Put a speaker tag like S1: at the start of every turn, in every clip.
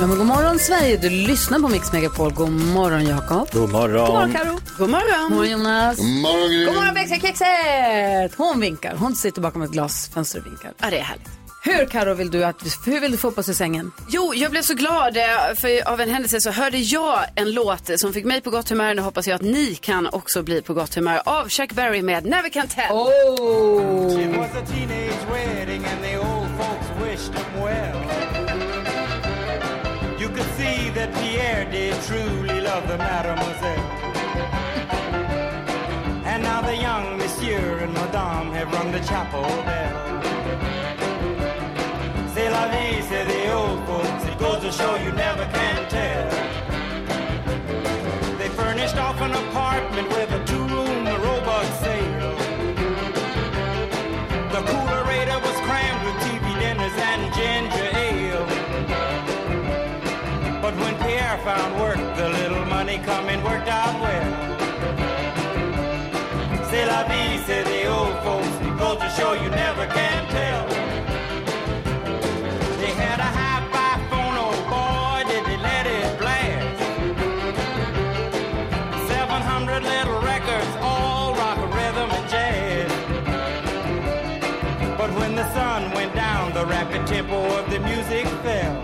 S1: Ja, men god morgon Sverige, du lyssnar på Mix Megapol. God morgon Jakob.
S2: God morgon.
S1: God morgon Karo. God morgon. God morgon Jonas. God
S3: morgon, Gry.
S1: God morgon växelkexet. Hon vinkar, hon sitter bakom ett glasfönster och vinkar.
S4: Ja, det är härligt.
S1: Hur Karo vill du att, hur vill du få upp oss ur sängen?
S5: Jo, jag blev så glad eh, för av en händelse så hörde jag en låt som fick mig på gott humör. Nu hoppas jag att ni kan också bli på gott humör av Chuck Berry med Never Can Tell. Oh!
S6: It was a teenage wedding and the old folks wished him well. You could see that Pierre did truly love the mademoiselle. And now the young monsieur and madame have rung the chapel bell. C'est la vie, say the old folks, it goes to show you never can tell. They furnished off an apartment with a two-room robot sale. The coolerator was crammed with TV dinners and ginger ale. But when Pierre found work, the little money coming worked out well. C'est la vie, said the old folks. It goes to show you never can tell. They had a hi-fi phone, oh boy, did they let it blast. 700 little records, all rock, rhythm, and jazz. But when the sun went down, the rapid tempo of the music fell.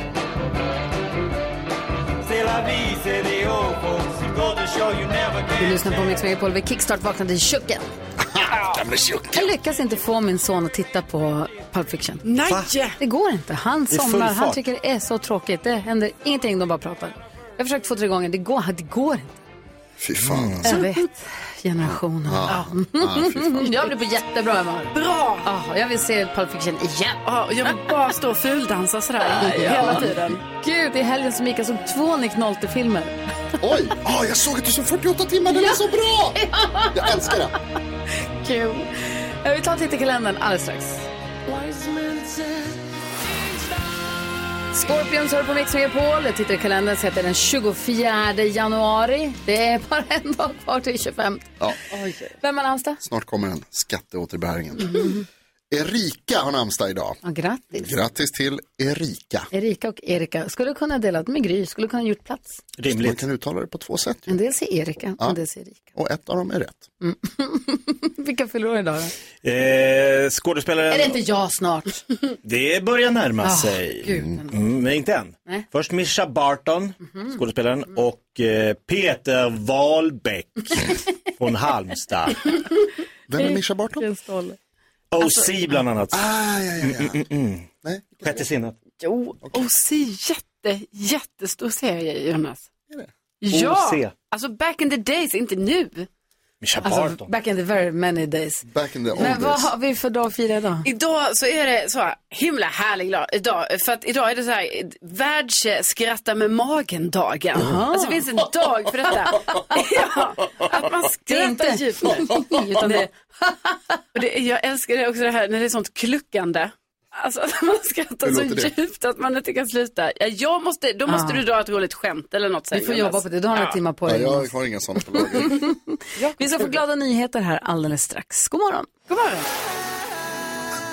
S6: C'est la vie, say the old folks. It goes to show you never
S1: Du
S6: can
S1: lyssnar på Mix Megapol, vi kickstart vaknade i köket. Jag lyckas inte få min son att titta på Pulp Fiction.
S5: Nej!
S1: Det går inte. Han
S7: I full
S1: somnar, han
S7: fart.
S1: tycker det är så tråkigt. Det händer ingenting, de bara pratar. Jag har försökt två, tre gånger, det går, det går inte.
S3: Fy fan.
S5: Mm.
S1: Jag vet. Generationen.
S3: Ja.
S1: Ja.
S3: Ja, fy fan.
S1: jag blir på jättebra humör.
S5: Bra!
S1: Ja, jag vill se Pulp Fiction igen.
S5: Ja, och jag vill bara stå och fuldansa sådär
S1: Ja.
S5: hela tiden.
S1: Gud, i helgen som gick jag såg två Nick Nolte-filmer.
S3: Oj! Ah, jag såg att du såg 48 timmar, den är så bra! Jag älskar den.
S1: Kul. Eh, Vi tar en titt i kalendern alldeles strax. Scorpions hör på Mix Megapol. Jag tittar i kalendern så att det är den 24 januari. Det är bara en dag kvar till 25.
S3: Ja,
S1: Vem har namnsdag?
S3: snart kommer den, skatteåterbäringen. Erika har namnsdag idag.
S1: Mm. Ja, grattis.
S3: Grattis till Erika.
S1: Erika och Erika skulle kunna dela med Gry, skulle kunna gjort plats.
S3: Man kan uttala det på två sätt. ju.
S1: En del säger Erika,
S3: Ja.
S1: en del säger Erika.
S3: Och ett av dem är rätt.
S1: Vilka förlorar idag då?
S2: Eh, skådespelaren,
S1: Är det inte jag snart?
S2: det börjar närma
S1: Ah,
S2: sig.
S1: gud.
S2: Mm, men inte än.
S1: Nej. Mhm. Mm.
S2: Först Mischa Barton, skådespelaren, och eh, Peter Wahlbeck från Halmstad.
S3: Vem är Mischa Barton?
S2: OC bland annat. Mm,
S3: Ah, ja, ja, ja. Nej,
S2: Sjätte sinnet.
S5: Jo, och se jätte, jättestor serie Jonas.
S2: OC.
S5: Ja, alltså back in the days, inte nu.
S2: Mischa
S1: Alltså,
S2: Barton.
S1: back in the very many days.
S3: back in the old
S1: Men vad
S3: days.
S1: har vi för dag att fira idag?
S5: Idag så är det så här himla härlig dag. Idag, för att idag är det så här eh, världsskratta med magen-dagen. Alltså det finns en dag för detta. ja, att man
S1: Det är inte
S5: skrattar djupt.
S1: utan det
S5: Och det, jag älskar det också det här när det är sånt kluckande. Alltså att man skrattar
S3: Hur
S5: så
S3: låter det?
S5: djupt att man inte kan sluta. Ja, jag måste, då måste
S1: Ah.
S5: du dra ett roligt skämt eller något.
S1: Vi får jobba på det, du har några timmar på
S3: Ja,
S1: dig.
S3: jag
S1: Jonas.
S3: har inga sådana på lager.
S1: Vi ska få glada nyheter här alldeles strax. God morgon!
S5: God morgon.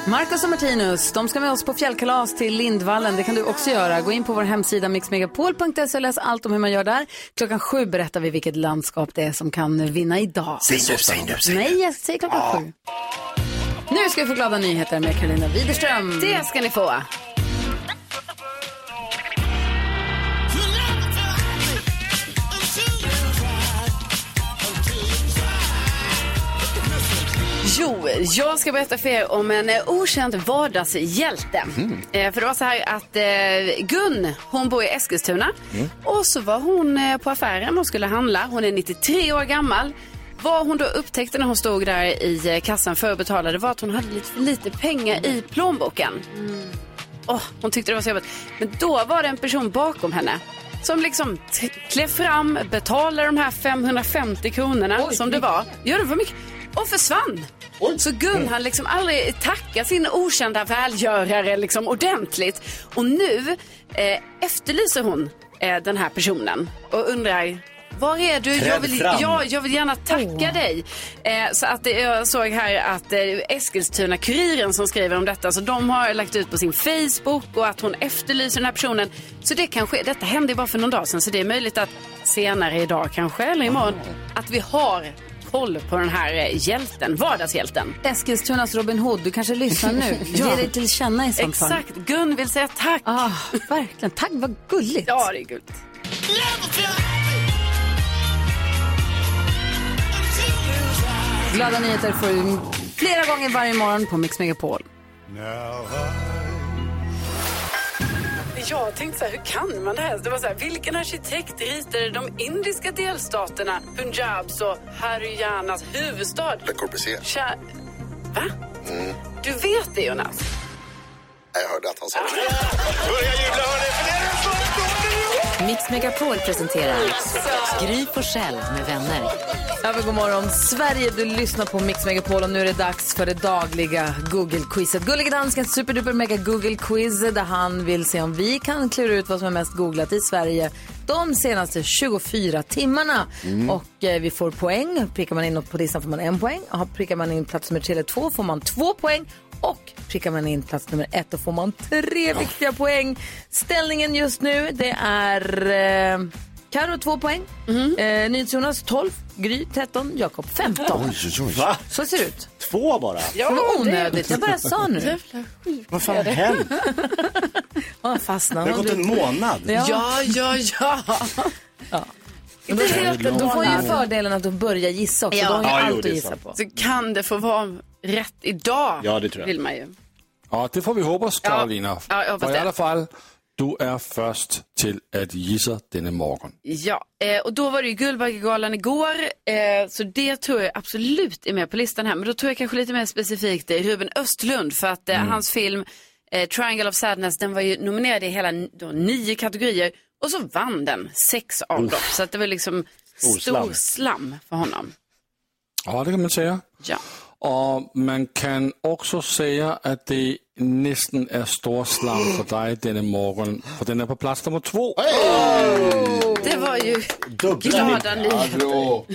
S1: Marcus och Martinus, de ska med oss på fjällkalas till Lindvallen. Det kan du också göra. Gå in på vår hemsida mixmegapol.se och läs allt om hur man gör där. Klockan sju berättar vi vilket landskap det är som kan vinna idag.
S2: Säg nu, säg nu, säg nu.
S1: Nej, jag säger klockan sju. Nu ska vi få glada nyheter med Karolina Widerström.
S5: Det ska ni få. Jo, jag ska berätta för er om en eh, okänd vardagshjälte.
S2: Mhm.
S5: Eh, för det var så här att eh, Gun, hon bor i Eskilstuna.
S2: Mm.
S5: Och så var hon eh, på affären och skulle handla. Hon är 93 år gammal. Vad hon då upptäckte när hon stod där i eh, kassan för att betala det var att hon hade lite för lite pengar i plånboken. åh, hon tyckte det var så jobbigt. Men då var det en person bakom henne som liksom t- klev fram, betalade de här 550 kronorna som det var. Ja, det var mycket. Och försvann. Så Gun han liksom aldrig tacka sin okända välgörare liksom ordentligt. Och nu eh, efterlyser hon eh, den här personen och undrar var är du?
S6: Träd
S5: Jag vill,
S6: fram.
S5: ja, jag vill gärna tacka dig. Eh, så att, eh, jag såg här att eh, Eskilstuna-Kuriren som skriver om detta, så de har lagt ut på sin Facebook och att hon efterlyser den här personen. Så det kanske, detta hände ju bara för någon dag sedan, så det är möjligt att senare idag kanske, eller imorgon, att vi har koll på den här eh, hjälten, vardagshjälten.
S8: Eskilstunas Robin Hood, du kanske lyssnar nu. Ge dig till känna i sånt fall.
S5: Exakt, Gun vill säga tack.
S8: Ah, verkligen. Tack, vad gulligt.
S5: Ja, det är gulligt.
S8: Glada nyheter får du flera gånger varje morgon på Mix Megapol.
S5: Jag tänkte så här, hur kan man det här? Det var så här, vilken arkitekt ritade de indiska delstaterna Punjabs och Haryanas huvudstad?
S3: Le Corbusier.
S5: Tja, va? Du vet det Jonas?
S3: Mm. Nej, Jag hörde att han sa det.
S9: Mix Megapol presenterar Gry på med vänner.
S1: Ja, men god morgon Sverige, du lyssnar på Mix Megapol och nu är det dags för det dagliga Google-quizet. Gullige danskens superduper mega Google-quiz där han vill se om vi kan klura ut vad som är mest googlat i Sverige de senaste 24 timmarna. Och eh, vi får poäng. Prickar man in något på listan får man en poäng. Och prickar man in plats nummer tre eller två får man två poäng. Och prickar man in plats nummer ett då får man tre viktiga poäng. Ställningen just nu det är... Eh, Karo 2 poäng,
S5: Mhm.
S1: eh, NyhetsJonas 12, Gry 13, Jakob 15.
S6: Va?
S1: Så ser det ut.
S6: Två bara?
S1: Det var onödigt, jag bara sa nu.
S6: Vad fan har hänt?
S1: Han fastnade.
S6: Det har gått en månad.
S1: Ja, ja, ja.
S5: Inte helt
S1: De får ju fördelen att de börjar gissa också.
S5: Ja.
S1: De har ju
S6: Ja, jo,
S1: allt
S6: det är
S1: att gissa
S6: sant.
S1: på.
S5: Så kan det få vara rätt idag?
S6: Ja, det tror jag.
S5: Vill man ju.
S10: Ja, det får vi håbe os, Karolina.
S5: Ja, jeg håber
S10: Og i
S5: det.
S10: alle fald, du er først til at gisse denne morgen.
S5: Ja, eh, och då var det ju Guldbaggegalan igår, eh, så det tror jag absolut är med på listan här. Men då tror jag kanske lite mer specifikt eh, Ruben Östlund för att eh, hans film eh, Triangle of Sadness, den var ju nominerad i hela n- då, nio kategorier och så vann den sex av dem. Så att det var liksom stor slam,
S6: slam.
S5: för
S10: Oh.
S5: honom.
S10: Ja, det kan man sige.
S5: Ja.
S10: Og man kan også sige, at det næsten er stor slam for dig denne morgen, for den er på plads nummer to.
S5: Det var ju
S6: Dubbla
S5: glada nyheter.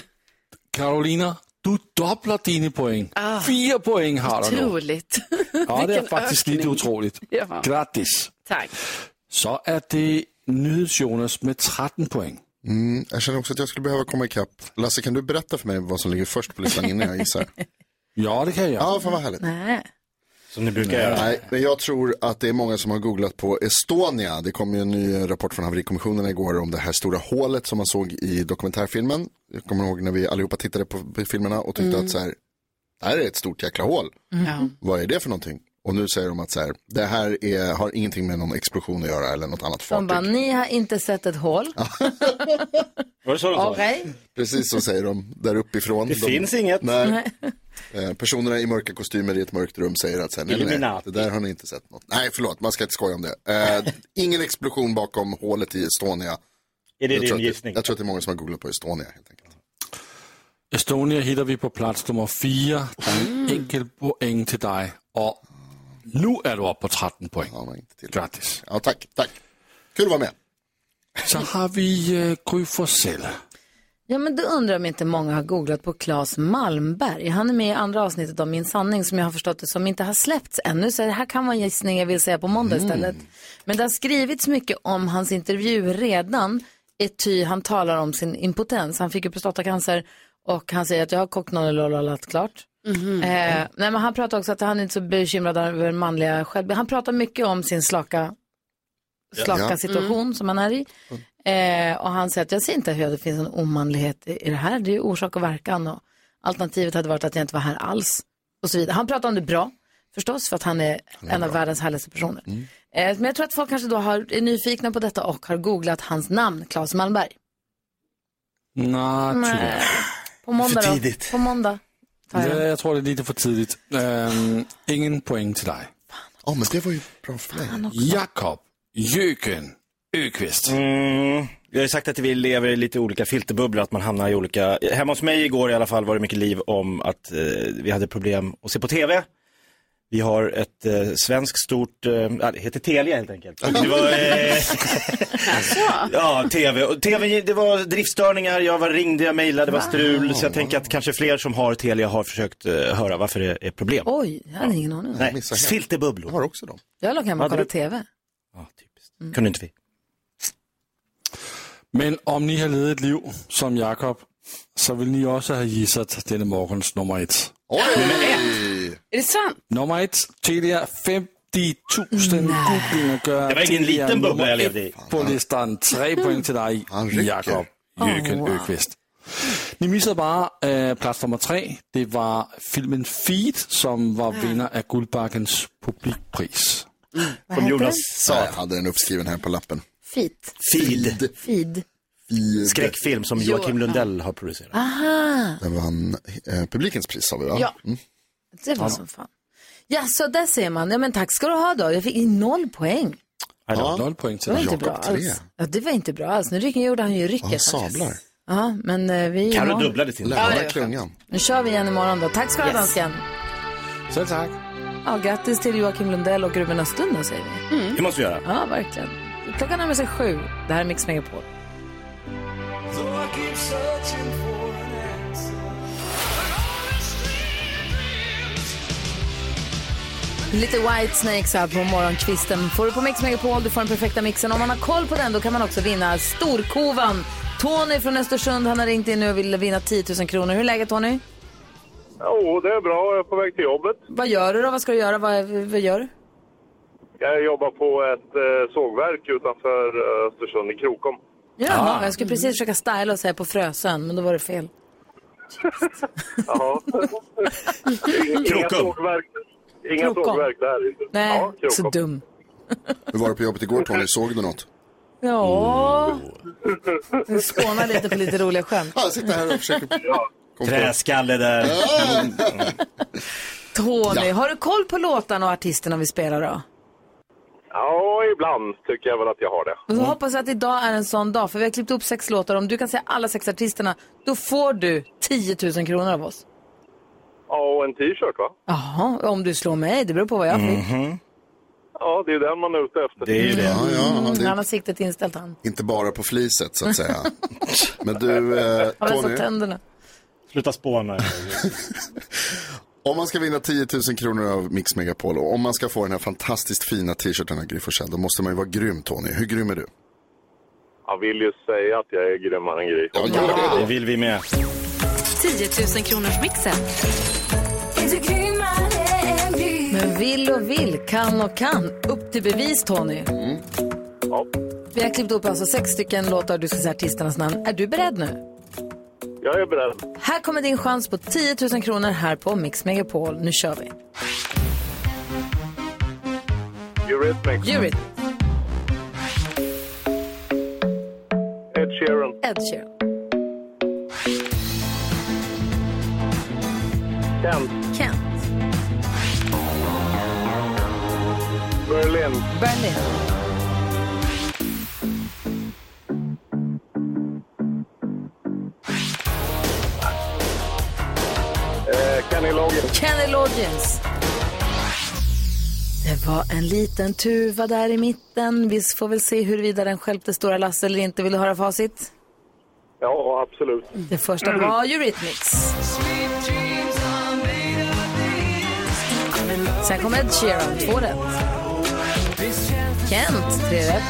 S10: Karolina, du dobler dine point.
S5: Ah.
S10: Fire point har du nu.
S5: Otroligt.
S10: Ja, det er
S5: Vilken
S10: faktisk lidt
S5: ökning.
S10: utroligt.
S5: Ja.
S10: Gratis.
S5: Tack.
S10: Så er det Nyheds Jonas med 13 point.
S3: Mm, jag känner också att jag skulle behöva komma ikapp. Lasse, kan du berätta för mig vad som ligger först på listan innan jag gissar?
S10: Ja, det kan jeg.
S3: Ja, fan vad härligt.
S6: Som ni brukar göra.
S3: Nej, men jag tror att det är många som har googlat på Estonia. Det kom ju en ny rapport från haverikommissionen igår om det här stora hålet som man såg i dokumentärfilmen. Jag kommer ihåg när vi allihopa tittade på filmerna och tyckte
S1: Mm.
S3: att så här, det här är ett stort jäkla hål.
S5: Ja.
S3: Vad är det för någonting? Och nu säger de att så här, det här är, har ingenting med någon explosion att göra eller något annat
S1: De bara,
S3: fartyg.
S1: ni har inte sett ett hål.
S6: Var det så de sa?
S1: Okej.
S3: Precis så säger de där uppifrån.
S6: Det
S3: de,
S6: finns inget.
S3: Nej. Eh, Personerna i mörka kostymer i ett mörkt rum säger att sen, nej, nej,
S6: Illuminati.
S3: det där har ni inte sett något. Nej, förlåt, man ska inte skoja om det. Eh, ingen explosion bakom hålet i Estonia.
S6: Är det
S3: jag,
S6: din
S3: tror att det,
S6: gissning?
S3: jag tror att det är många som har googlat på Estonia helt enkelt.
S10: Estonia hittar vi på plats nummer fyra. Det är en
S3: Mm.
S10: enkel poäng till dig. Och nu är du uppe på 13 poäng.
S3: Ja, men inte till.
S10: Grattis.
S3: Ja, tack, tack. Kul att vara med.
S10: Så har vi uh, Gry Forssell.
S1: Ja, men då undrar jag om inte många har googlat på Claes Malmberg. Han är med i andra avsnittet av Min sanning som jag har förstått det som inte har släppts ännu. Så det här kan vara en gissning jag vill säga på måndag istället. Men det har skrivits mycket om hans intervju redan. Ty han talar om sin impotens. Han fick ju prostatacancer och han säger att jag har kocknollolollat klart. Eh, nej, men han pratar också att han är inte så bekymrad över manliga självbild. Han pratar mycket om sin slaka, slaka
S3: Ja.
S1: situation som han är i. Eh, och han säger att jag ser inte hur det finns en omanlighet i i det här. Det är ju orsak och verkan. Och alternativet hade varit att jag inte var här alls. Och så vidare. Han pratar om det bra, förstås, för att han är, en av världens härligaste personer. Eh, men jag tror att folk kanske då har, är nyfikna på detta och har googlat hans namn, Claes Malmberg.
S10: Nej, tyvärr.
S1: På måndag
S6: För
S1: då?
S6: tidigt.
S1: På måndag. Tar jag.
S10: Ja, jag tror det är lite för tidigt. Ehm, ingen poäng till dig.
S3: Ja, men det var ju bra för mig.
S10: Jakob Jöken Öqvist.
S2: Mm. Jag har ju sagt att vi lever i lite olika filterbubblor, att man hamnar i olika... Hemma hos mig igår i alla fall var det mycket liv om att eh, vi hade problem att se på TV. Vi har ett eh, svenskt stort, eh, ja, det heter Telia helt enkelt. Och Det var, eh,
S1: Alltså.
S2: ja, TV. Och TV, det var driftstörningar, jag var ringde, jag mejlade, det var strul. Så jag tänker att kanske fler som har Telia har försökt eh, höra varför det är problem.
S1: Oj, jag hade ingen aning.
S2: Nej, filterbubblor. Jag
S3: har också dem.
S1: Jag låg hemma och
S2: Hade
S1: kollade
S2: du-
S1: TV. Mm.
S2: Kunde inte vi.
S10: Men om ni har levet ett liv som Jakob, så vill ni också ha gissat denna morgons nummer ett. Mm.
S11: Är det sant?
S10: Nummer ett, Telia 50 000 googlingar gör
S2: Det var ingen
S10: Telia
S2: liten bubbla
S10: nummer
S2: jag levde
S10: ett
S2: i.
S10: På listan, tre poäng till dig, Jakob Jöken
S2: Åh.
S10: Öqvist. Ni missade bara eh, plats nummer tre. Det var filmen Feed som var vinnare av Guldbaggens publikpris.
S1: Vad heter Jonas
S3: sa. Jag hade den uppskriven här på lappen.
S1: Fit.
S2: Feed.
S1: Feed.
S3: Feed.
S2: Skräckfilm som Joakim Lundell har producerat.
S3: Ah.
S1: Aha,
S3: Den vann eh, publikens pris sa vi va?
S1: Ja.
S3: Mm.
S1: det var
S3: Ja.
S1: som fan. Ja, så där ser man. Ja, men tack ska du ha då. Jag fick noll poäng.
S10: Ja. Noll poäng
S1: Det
S10: till
S1: var
S10: dig.
S1: inte bra alls. Ja, det var inte bra alls. Nu rycker, gjorde han ju rycket.
S3: sablar.
S1: Ja, men eh, vi...
S10: Karo
S1: imorgon-
S10: dubblade sin.
S1: Ja,
S10: Lämna
S1: det var
S3: klungan.
S1: skönt. Nu kör vi igen imorgon då. Tack ska du ha,
S10: Yes.
S1: dansken.
S10: Så tack.
S1: Ja, grattis till Joakim Lundell och Ruben Östlund då, säger vi.
S10: Mm.
S2: Det måste vi göra.
S1: Ja, verkligen. Klockan närmar sig sju. Det här är Mix Megapol.
S6: So I keep searching for an answer.
S1: Lite White Snakes här på morgonkvisten. Får du på Mix Megapol, du får den perfekta mixen. Om man har koll på den då kan man också vinna storkovan. Tony från Östersund, han har ringt in nu och vill vinna 10 000 kronor. Hur är läget Tony?
S12: Jo, det är bra. Jag är på väg till jobbet.
S1: Vad gör du då? Vad ska du göra? Vad, vad gör du?
S12: Jag jobbar på ett eh, sågverk utanför eh, Östersund i Krokom.
S1: Jaha, jag skulle precis försöka styla och säga på Frösön, men då var det fel.
S12: Jaha. Inga
S1: Krokom.
S12: sågverk, inga
S1: Krokom.
S12: sågverk där. inte.
S1: Nej,
S12: Ja, Krokom.
S1: så dum.
S3: Hur var det på jobbet igår Tony? Såg du något?
S1: Ja, vi spånar lite på lite roliga skämt.
S3: Oh. Jag sitter här och försöker...
S2: Träskalle där.
S1: Tony, har du koll på låtarna och artisterna vi spelar då?
S12: Ja, ibland tycker jag väl att jag har det.
S3: Mm.
S1: Och så hoppas jag att idag är en sån dag, för vi har klippt upp sex låtar. Om du kan säga alla sex artisterna, då får du 10 000 kronor av oss.
S12: Ja, och en t-shirt va?
S1: Jaha, om du slår mig, det beror på vad jag
S3: Mm,
S1: fick.
S12: Ja, det är den man är ute efter.
S3: Det är ju det. Ja, ja,
S1: Mm,
S3: det
S1: han
S3: är
S1: har siktet inställt han.
S3: inte bara på fliset så att säga. Men du eh,
S1: Har väl
S3: Tony,
S1: tänderna.
S2: Sluta spåna.
S3: om man ska vinna 10 000 kronor av Mix Megapol och om man ska få den här fantastiskt fina t-shirten av Gry Forssell, då måste man ju vara grym Tony. Hur grym är du?
S12: Jag vill ju säga att jag är grymmare än Gry.
S3: Ja, gör det då. Det
S2: vill vi med.
S4: 10 000 kronors mixen.
S1: Men vill och vill, kan och kan. Upp till bevis, Tony. Vi har klippt upp alltså sex stycken låtar du ska säga artisternas namn. Är du beredd nu?
S12: Jag är beredd.
S1: Här kommer din chans på 10 000 kronor här på Mix Megapol. Nu kör vi.
S12: Eurythmics.
S1: Euryt.
S12: Ed Sheeran.
S1: Ed Sheeran.
S12: Kent.
S1: Kent.
S12: Berlin.
S1: Berlin.
S12: Eh, Kenny Loggins.
S1: Kenny Loggins. Det var en liten tuva där i mitten. Vi får väl se huruvida den stjälpte Stora Lasse eller inte. Vill du höra facit?
S12: Ja, absolut.
S1: Det första
S4: Mm.
S1: var Eurythmics. Sen kom Ed Sheeran, två rätt. Kent, tre rätt.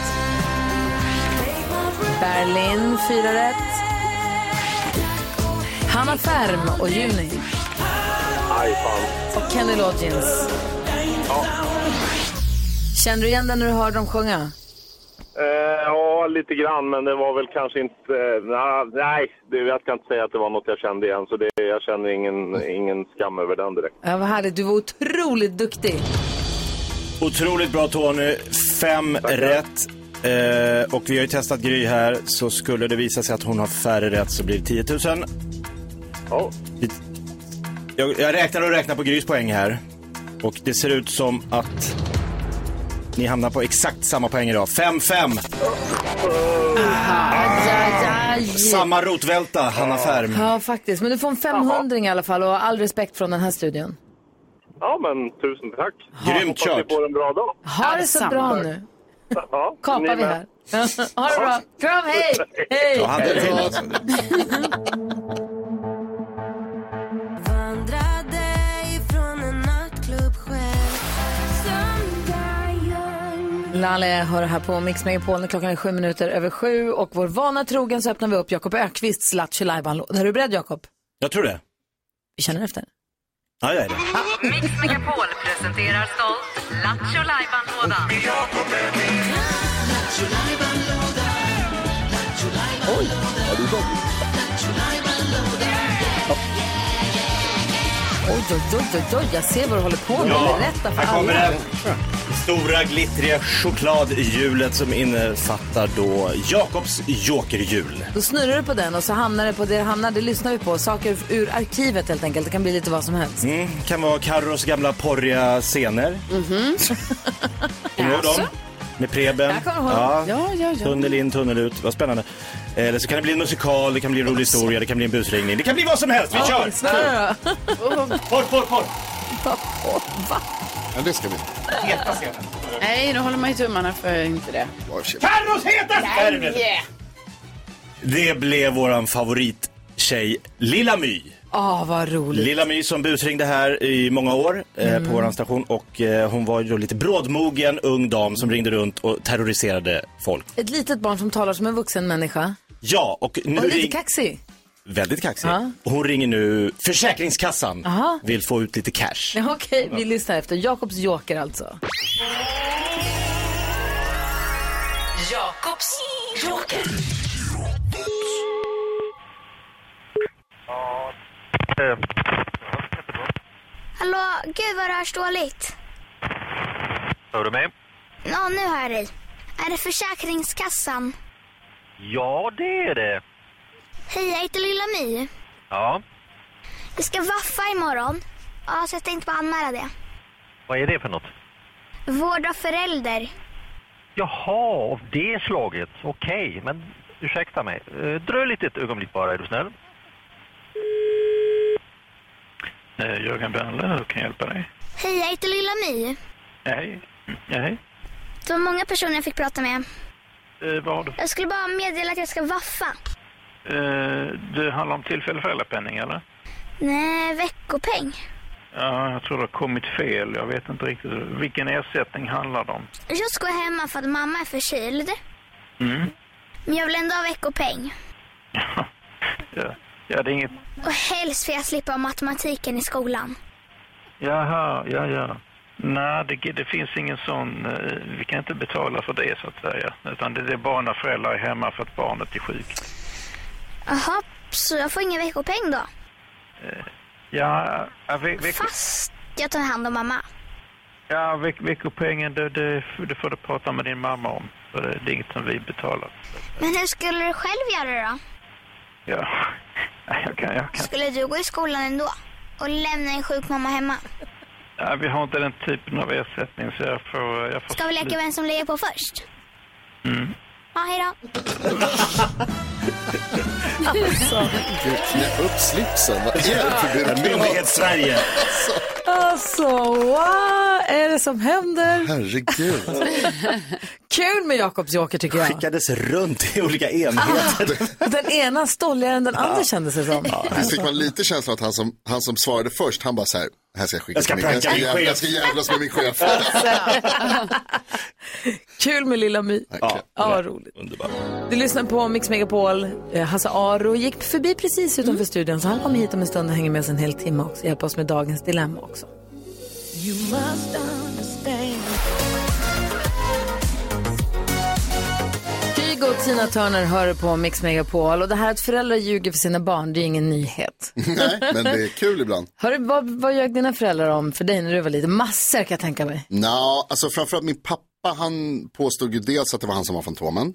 S1: Berlin, fyra rätt. Hanna Färm och Juni.
S12: Aj, fan.
S1: Och Kenny Loggins. Känner du igen den när du hör dem sjunga?
S12: Eh, ja, lite grann, men det var väl kanske inte... Eh, na- nej, det, jag ska inte säga att det var något jag kände igen, så det, jag känner ingen, ingen skam över den direkt.
S1: Ja, vad härligt. Du var otroligt duktig.
S2: Otroligt bra Tony. Fem rätt. Eh, och vi har ju testat Gry här, så skulle det visa sig att hon har färre rätt så blir det 10 000.
S12: Ja.
S2: Jag, jag räknar och räknar på Grys poäng här. Och det ser ut som att Ni hamnar på exakt samma poäng idag. 5-5.
S13: Ajajaj.
S2: Samma rotvälta, Hanna Färm.
S1: Ja, faktiskt. Men du får en 500 i alla fall och all respekt från den här studion.
S12: Ja, men tusen tack.
S2: Grymt
S12: kört. Hoppas ni får en bra dag.
S1: Ha det så bra nu.
S12: Ja, ni
S1: Kapar vi
S12: med.
S1: här. ha det bra. Kram, hej! Hej!
S6: Jag hade en till, alltså.
S14: Vandrade ifrån en nattklubb själv
S1: Lalle hör här på Mix Megapol när klockan är sju minuter över sju och vår vana trogen så öppnar vi upp Jakob Ökvists Lattjo Lajban-låda. Är du beredd Jakob?
S2: Jag tror det.
S1: Vi känner efter.
S2: Ja, jag är det.
S4: Mix Megapol presenterar stolt Lattjo Lajban-lådan.
S6: Oj, har du dem?
S1: Oj, oj, oj, oj, oj, jag ser vad du håller på med.
S2: Ja,
S1: Berätta för
S2: här kommer
S1: alla.
S2: den. Stora glittriga chokladhjulet som innefattar då Jakobs jokerhjul.
S1: Då snurrar du på den och så hamnar det på det det hamnar, det lyssnar vi på. Saker ur arkivet helt enkelt. Det kan bli lite vad som helst.
S2: Mm, kan vara Carros gamla porriga scener. Mhm. Kommer du ihåg dem? Med Preben.
S1: Jag kommer ihåg. Ja, ja, ja.
S2: Tunnel in, tunnel ut. Vad spännande. Eh, Eller så kan det bli en musikal, det kan bli en rolig historia, det kan bli en busringning. Det kan bli vad som helst. Vi
S1: Ja,
S2: kör!
S1: snurra då.
S2: Bort, bort, bort!
S3: Ja, det ska vi.
S2: Heta scenen.
S11: Nej, nu håller man ju tummarna för inte det.
S2: Carros heta
S11: scenen!
S2: Det blev våran favorittjej Lilla My.
S1: Ah, vad roligt.
S2: Lilla My som busringde här i många år eh,
S1: Mm.
S2: på våran station och eh, hon var ju då lite brådmogen ung dam
S1: Mm.
S2: som ringde runt och terroriserade folk.
S1: Ett litet barn som talar som en vuxen människa.
S2: Ja, och nu
S1: Och lite
S2: ring-
S1: kaxig.
S2: Väldigt kaxig.
S1: Ja.
S2: Och Hon ringer nu Försäkringskassan.
S1: Aha.
S2: Vill få ut lite cash.
S1: Ja, Okej, vi lyssnar efter. Jakobs joker alltså.
S4: Jakobs joker.
S14: Hallå, gud vad det hörs dåligt.
S15: Hör du mig?
S14: Ja, nu hör jag dig. Är det Försäkringskassan?
S15: Ja, det är det.
S14: Hej, jag heter Lilla My.
S15: Ja,
S14: Vi ska vaffa imorgon. Ja, så jag tänkte bara anmäla det.
S15: vad är det för något?
S14: Vård av förälder.
S15: Jaha, av det slaget. Okej, men ursäkta mig. Eh, Dröj lite ett ögonblick bara, är du snäll? Eh, Jörgen Bernle, hur kan jag hjälpa dig?
S14: Hej, jag heter Lilla My.
S15: Hej. Hej.
S14: Det var många personer jag fick prata med.
S15: Eh, vad?
S14: Jag skulle bara meddela att jag ska vaffa.
S15: Eh, det handlar om tillfällig föräldrapenning, eller?
S14: Nej, veckopeng.
S15: Ja, jag tror det har kommit fel. Jag vet inte riktigt. Vilken ersättning handlar det om?
S14: Jag ska gå hemma för att mamma är förkyld.
S15: Mm.
S14: Men jag vill ändå ha veckopeng.
S15: Ja, ja, det är inget...
S14: Och helst får jag slippa matematiken i skolan.
S15: Jaha, ja, ja. Nej, det, det finns ingen sån... eh, Vi kan inte betala för det, så att säga. Utan det, det är bara när föräldrar är hemma för att barnet är sjukt.
S14: Jaha, så jag får ingen veckopeng då?
S15: Eh, Ja, ja, ve, ve,
S14: Fast jag tar hand om mamma.
S15: ja ve, veckopengen, det, det, det får du prata med din mamma om. För det, det är inget som vi betalar.
S14: Men hur skulle du själv göra då?
S15: Ja, jag kan, jag kan.
S14: Skulle du gå i skolan ändå? Och lämna en sjuk mamma hemma?
S15: Ja, vi har inte den typen av ersättning, så jag får... Jag får
S14: Ska vi leka vem som lägger på först?
S15: Mm.
S14: Ja, hejdå.
S3: Alltså. Gud, knä upp slipsen. Vad är det för byråkrati?
S2: Myndighets-Sverige.
S1: Alltså, vad är det som händer?
S3: Herregud.
S1: Kul med Jakobs joker tycker jag.
S2: Skickades runt i olika enheter.
S1: Den ena stolligare än den andra kändes det som.
S3: Visst fick man lite känslan att han som, han som svarade först, han bara så här, här ska jag skicka
S2: Jag ska
S3: till min- jag
S2: pranka min
S3: jävla-
S2: chef.
S3: jag ska jävlas med min chef.
S1: Kul med Lilla My.
S3: Ja,
S1: Ja, roligt. Du lyssnar på Mix Megapol. Eh, Hasse Aro gick förbi precis utanför studion så han kommer hit om en stund och hänger med oss en hel timme också. Hjälper oss med dagens dilemma också.
S6: You must understand.
S1: Kygo och Tina Turner hör på Mix Megapol och det här att föräldrar ljuger för sina barn, det är ju ingen nyhet.
S3: Nej, men det är kul ibland.
S1: Hörru, vad, vad ljög dina föräldrar om för dig när du var liten? Massor kan jag tänka mig.
S3: Nja, alltså framförallt min pappa, han påstod ju dels att det var han som var Fantomen.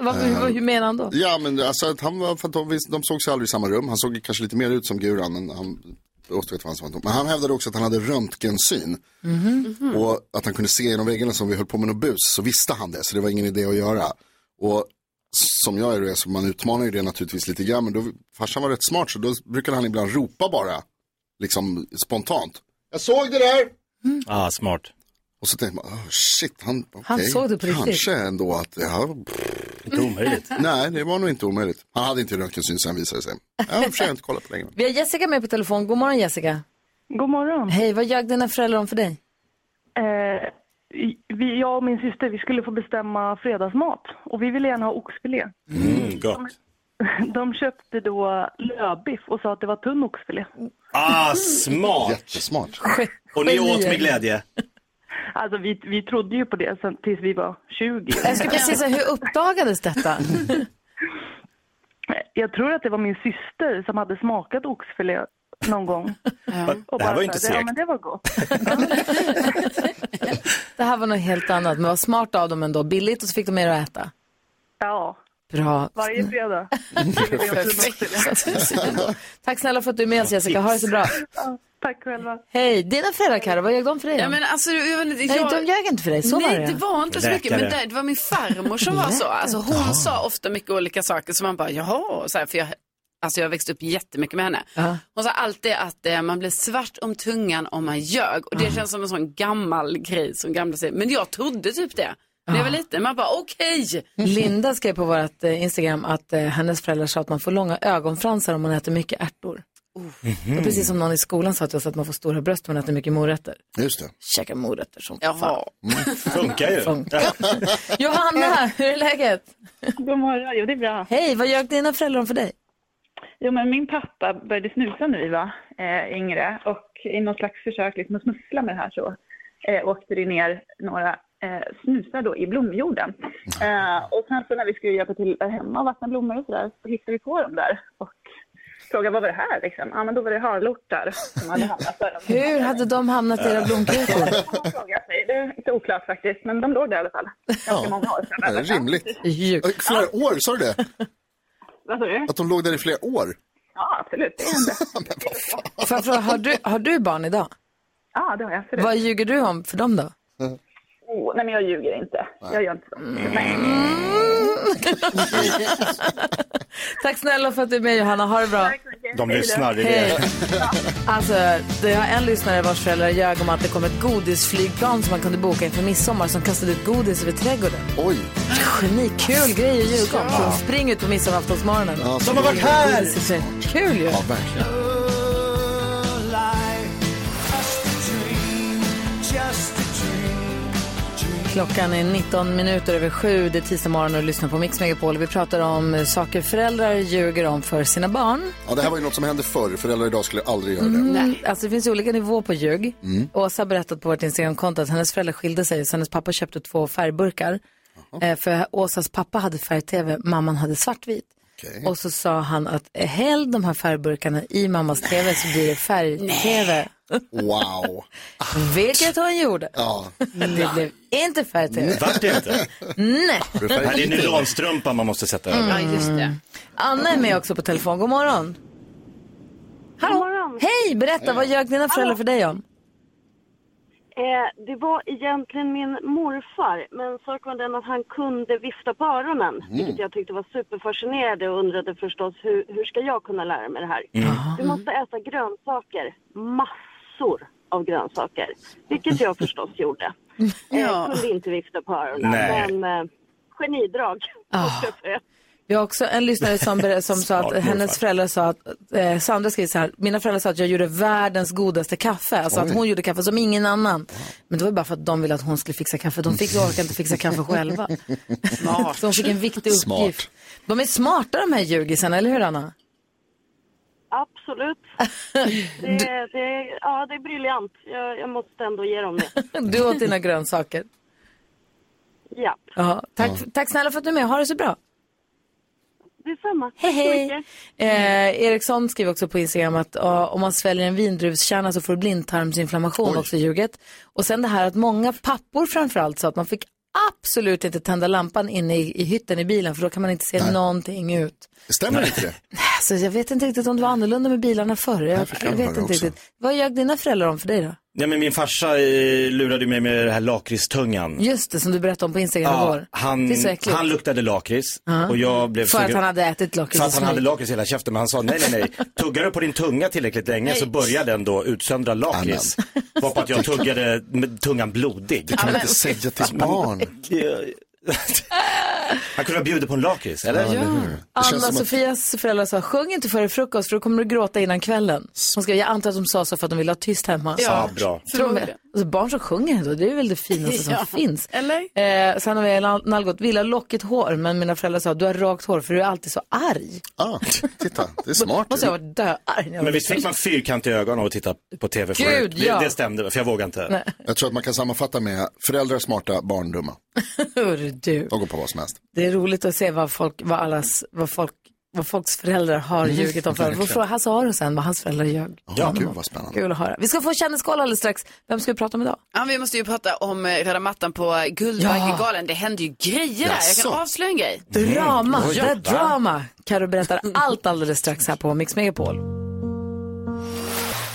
S1: Vad,
S3: Eh,
S1: hur, hur menar han då?
S3: Ja, men alltså att han var Fantomen, visst, de såg sig aldrig i samma rum. Han såg ju kanske lite mer ut som Guran, men han Återvet vad han sa. Men han hävdade också att han hade röntgensyn.
S6: Mm.
S2: Mm-hmm.
S3: Och att han kunde se genom väggarna som vi höll på med något bus så visste han det. Så det var ingen idé att göra. Och som jag är det så man utmanar ju det naturligtvis lite grann. Men då, farsan var rätt smart så då brukade han ibland ropa bara. Liksom spontant. Jag såg det där!
S2: Ah, smart.
S3: Och så tänkte man, oh, shit, han,
S13: Han
S3: okej,
S13: såg det på riktigt.
S3: Kanske ändå att, ja. Inte
S13: omöjligt.
S3: Nej, det var nog inte omöjligt. Han hade inte röntgensyn sen visade det sig. Ja, i och för sig har jag inte kollat på länge.
S1: Vi har Jessica med på telefon. God morgon Jessica.
S16: God morgon.
S1: Hej, vad ljög dina föräldrar om för dig?
S16: Eh, vi, jag och min syster vi skulle få bestämma fredagsmat och vi ville gärna ha oxfilé.
S2: Mm, gott.
S16: De köpte då lövbiff och sa att det var tunn oxfilé.
S2: Ah, smart.
S3: Jättesmart.
S2: Och ni åt med glädje.
S16: Alltså vi, vi trodde ju på det sen, tills vi var 20.
S1: Jag ska precis säga, hur uppdagades detta?
S16: Jag tror att det var min syster som hade smakat oxfilé någon gång.
S1: Det här
S16: Och bara
S1: var ju inte
S16: så här, Ja,
S1: segt.
S16: men det var gott.
S1: Det här var något helt annat, men vad smart av dem ändå. Billigt och så fick de mer att äta.
S16: Ja,
S1: Bra.
S16: varje fredag.
S1: Tack snälla för att du är med oss Jessica, ha det så bra.
S16: Tack själva.
S1: Hej, dina föräldrar Karo, vad ljög de för dig?
S11: Ja,
S1: då?
S11: men alltså, jag, vet inte,
S1: Nej,
S11: jag,
S1: de ljög inte för dig, så
S11: Nej,
S1: var det.
S11: det var inte så mycket. Men
S1: Läkare.
S11: det, det var min farmor som var så. Alltså, hon sa ofta mycket olika saker som man bara, jaha. Så här, för jag, alltså, jag växte upp jättemycket med henne.
S1: Ja.
S11: Hon sa alltid att eh, man blir svart om tungan om man ljög. Och det
S1: Ah.
S11: känns som en sån gammal grej som gamla säger. Men jag trodde typ det. När
S1: Ah.
S11: jag var liten. Man bara, okej.
S1: Linda skrev på vårt eh, Instagram att eh, hennes föräldrar sa att man får långa ögonfransar om man äter mycket ärtor.
S2: Mm-hmm.
S1: Det
S11: Mm.
S1: var precis som någon i skolan sa till oss att man får stora bröst om man äter mycket morötter.
S3: Just det.
S1: Käka morötter som
S11: Jaha.
S2: Mm. Funkar ju.
S1: Johanna, hur är läget?
S17: God morgon, jo det är bra.
S1: Hej, vad gör dina föräldrar om för dig?
S17: Jo men min pappa började snusa när vi var eh, yngre och i något slags försök liksom att smussla med det här så eh, åkte det ner några eh, snusar då i blomjorden.
S1: Mm.
S17: Eh, och sen så när vi skulle hjälpa till där hemma och vattna blommor och sådär så hittade vi på dem där och frågade vad var det här liksom? Ja men då var det harlortar som hade hamnat där.
S1: Hur hade de hamnat i era blomkrukor?
S17: Det är lite oklart faktiskt men de låg där i alla fall. Ganska många år sedan.
S3: Det är rimligt. Äh, Flera år, sa du det?
S17: Vad sa du?
S3: Att de låg där i flera år?
S17: Ja absolut, det hände.
S1: Får jag fråga, har du, har du barn idag?
S17: Ja det har jag absolut.
S1: Vad ljuger du om för dem då?
S17: Oh, nej men jag ljuger inte. Jag gör inte så.
S3: Mm.
S17: Nej.
S1: Mm. Tack snälla för att du är med Johanna, ha det bra.
S2: De lyssnar, det är det.
S1: Hej. Alltså, det var en lyssnare vars föräldrar ljög om att det kom ett godisflygplan som man kunde boka inför midsommar som kastade ut godis över trädgården.
S3: Oj!
S1: Genikul grej att ljuga om.
S3: Ja.
S1: Så Spring ut på midsommaraftonsmorgonen.
S3: Ja, De har varit här!
S1: Godis i träd- Kul ju.
S3: Ja, verkligen.
S1: Klockan är 19 minuter över sju. Det är tisdag morgon och du lyssnar på Mix Megapol. Vi pratar om eh, saker föräldrar ljuger om för sina barn.
S3: Ja, det här var ju något som hände förr. Föräldrar idag skulle aldrig göra det.
S1: Mm, alltså det finns ju olika nivåer på ljug.
S3: Mm.
S1: Åsa har berättat på vårt Instagramkonto att hennes föräldrar skilde sig så hennes pappa köpte två färgburkar. Eh, för Åsas pappa hade färg-tv, mamman hade svartvit. Och så sa han att eh, häll de här färgburkarna i mammas tv så blir det färg-tv.
S3: Wow.
S1: Vilket hon gjorde.
S3: Ja.
S1: Det blev inte färg-tv.
S2: Mm. Vart det inte?
S1: Nej.
S2: Det här är Mm. nylonstrumpan man måste sätta över.
S1: Mm. Anna är med också på telefon. God morgon. Hallå. Hej, berätta. Vad ljög dina föräldrar för dig om?
S18: Eh, det var egentligen min morfar, men saken var den att han kunde vifta på öronen, vilket jag tyckte var superfascinerande och undrade förstås hur, hur ska jag kunna lära mig det här? Du måste äta grönsaker, massor av grönsaker, vilket jag förstås gjorde. Eh, Kunde inte vifta på öronen,
S1: Nej.
S18: men eh, genidrag. måste jag säga.
S1: Vi har också en lyssnare som, ber- som sa
S18: Smart
S1: att hennes
S18: morfar.
S1: föräldrar sa att, eh, Sandra skriver så här, mina föräldrar sa att jag gjorde världens godaste kaffe, alltså att
S18: Oj.
S1: hon gjorde kaffe som ingen annan. Men det var ju bara för att de ville att hon skulle fixa kaffe, de fick orkade inte fixa kaffe själva. Så hon fick en viktig uppgift.
S18: Smart.
S1: De är smarta de här ljugisarna, eller hur Anna?
S18: Absolut. Det, det, ja, det är briljant. Jag, jag måste ändå ge dem det.
S1: Du åt dina grönsaker.
S18: Ja,
S1: Ja, tack, tack snälla för att du är med, ha det så bra.
S18: detsamma.
S1: Hej,
S18: Tack så
S1: hej.
S18: mycket.
S1: Eh, Eriksson skriver också på Instagram att ja, om man sväljer en vindruvskärna så får du blindtarmsinflammation, också ljuget. Och sen det här att många pappor framförallt sa att man fick absolut inte tända lampan inne i, i hytten i bilen för då kan man inte se någonting ut.
S3: Stämmer inte det?
S1: Alltså, jag vet inte riktigt om det var annorlunda med bilarna förr. Jag,
S2: fick
S1: jag
S2: jag
S1: vet
S2: höra
S1: inte
S2: också.
S1: riktigt. Vad ljög dina föräldrar om för dig då?
S2: Ja, men min farsa eh, lurade mig med det här lakritstungan.
S1: Just det, som du berättade om på Instagram igår.
S2: han,
S1: det är så äckligt.
S2: han luktade lakrits
S1: Ja.
S2: och jag blev
S1: För att han hade ätit lakrits
S2: För
S1: och
S2: att han
S1: smör.
S2: hade lakrits i hela käften men han sa nej nej nej, tuggar du på din tunga tillräckligt länge så börjar den då utsöndra lakrits. Varpå att jag tuggade med tungan blodig. Det
S3: kan man inte säga till ett barn.
S2: Han kunde ha bjudit på en lakrits, eller?
S1: Ja. Anna-Sofias föräldrar sa, sjung inte före frukost för då kommer du gråta innan kvällen. Hon ska, jag antar att de sa så för att de ville ha tyst hemma.
S2: Ja, bra.
S1: Tror mig. alltså, barn som sjunger då, det är väl det finaste som
S5: Ja.
S1: finns. Eller? Eh, sen har vi Ella Nalgot, vill ha lockigt hår, men mina föräldrar sa, du har rakt hår för du är alltid så arg.
S3: Ah, titta, det är smart.
S1: Måste jag ha varit döarg när jag var
S2: Men visst fick man fyrkant i ögonen och titta på tv
S1: Gud,
S2: förut?
S1: ja.
S2: det, det stämde, för jag vågade inte.
S1: Nej.
S3: Jag tror att man kan sammanfatta med föräldrar är smarta, barn dumma.
S1: Hörru du.
S3: De går på vad som helst.
S1: Det är roligt att se vad, folk, vad, allas, vad, folk, vad folks föräldrar har
S3: Mm,
S1: ljugit om. För. Får
S3: verkligen.
S1: fråga Hasse Aro sen vad hans föräldrar ljög.
S3: Ja, gud vad spännande.
S1: Kul att höra. Vi ska få kändiskoll alldeles strax. Vem ska vi prata om idag?
S5: Ja, vi måste ju prata om eh, röda mattan på Guldbaggegalan. Det händer ju grejer där. Jag
S1: Jaså?
S5: kan avslöja en grej.
S1: Drama,
S5: Oj,
S1: det är
S5: va?
S1: drama. Karo berättar allt alldeles strax här på Mix Megapol.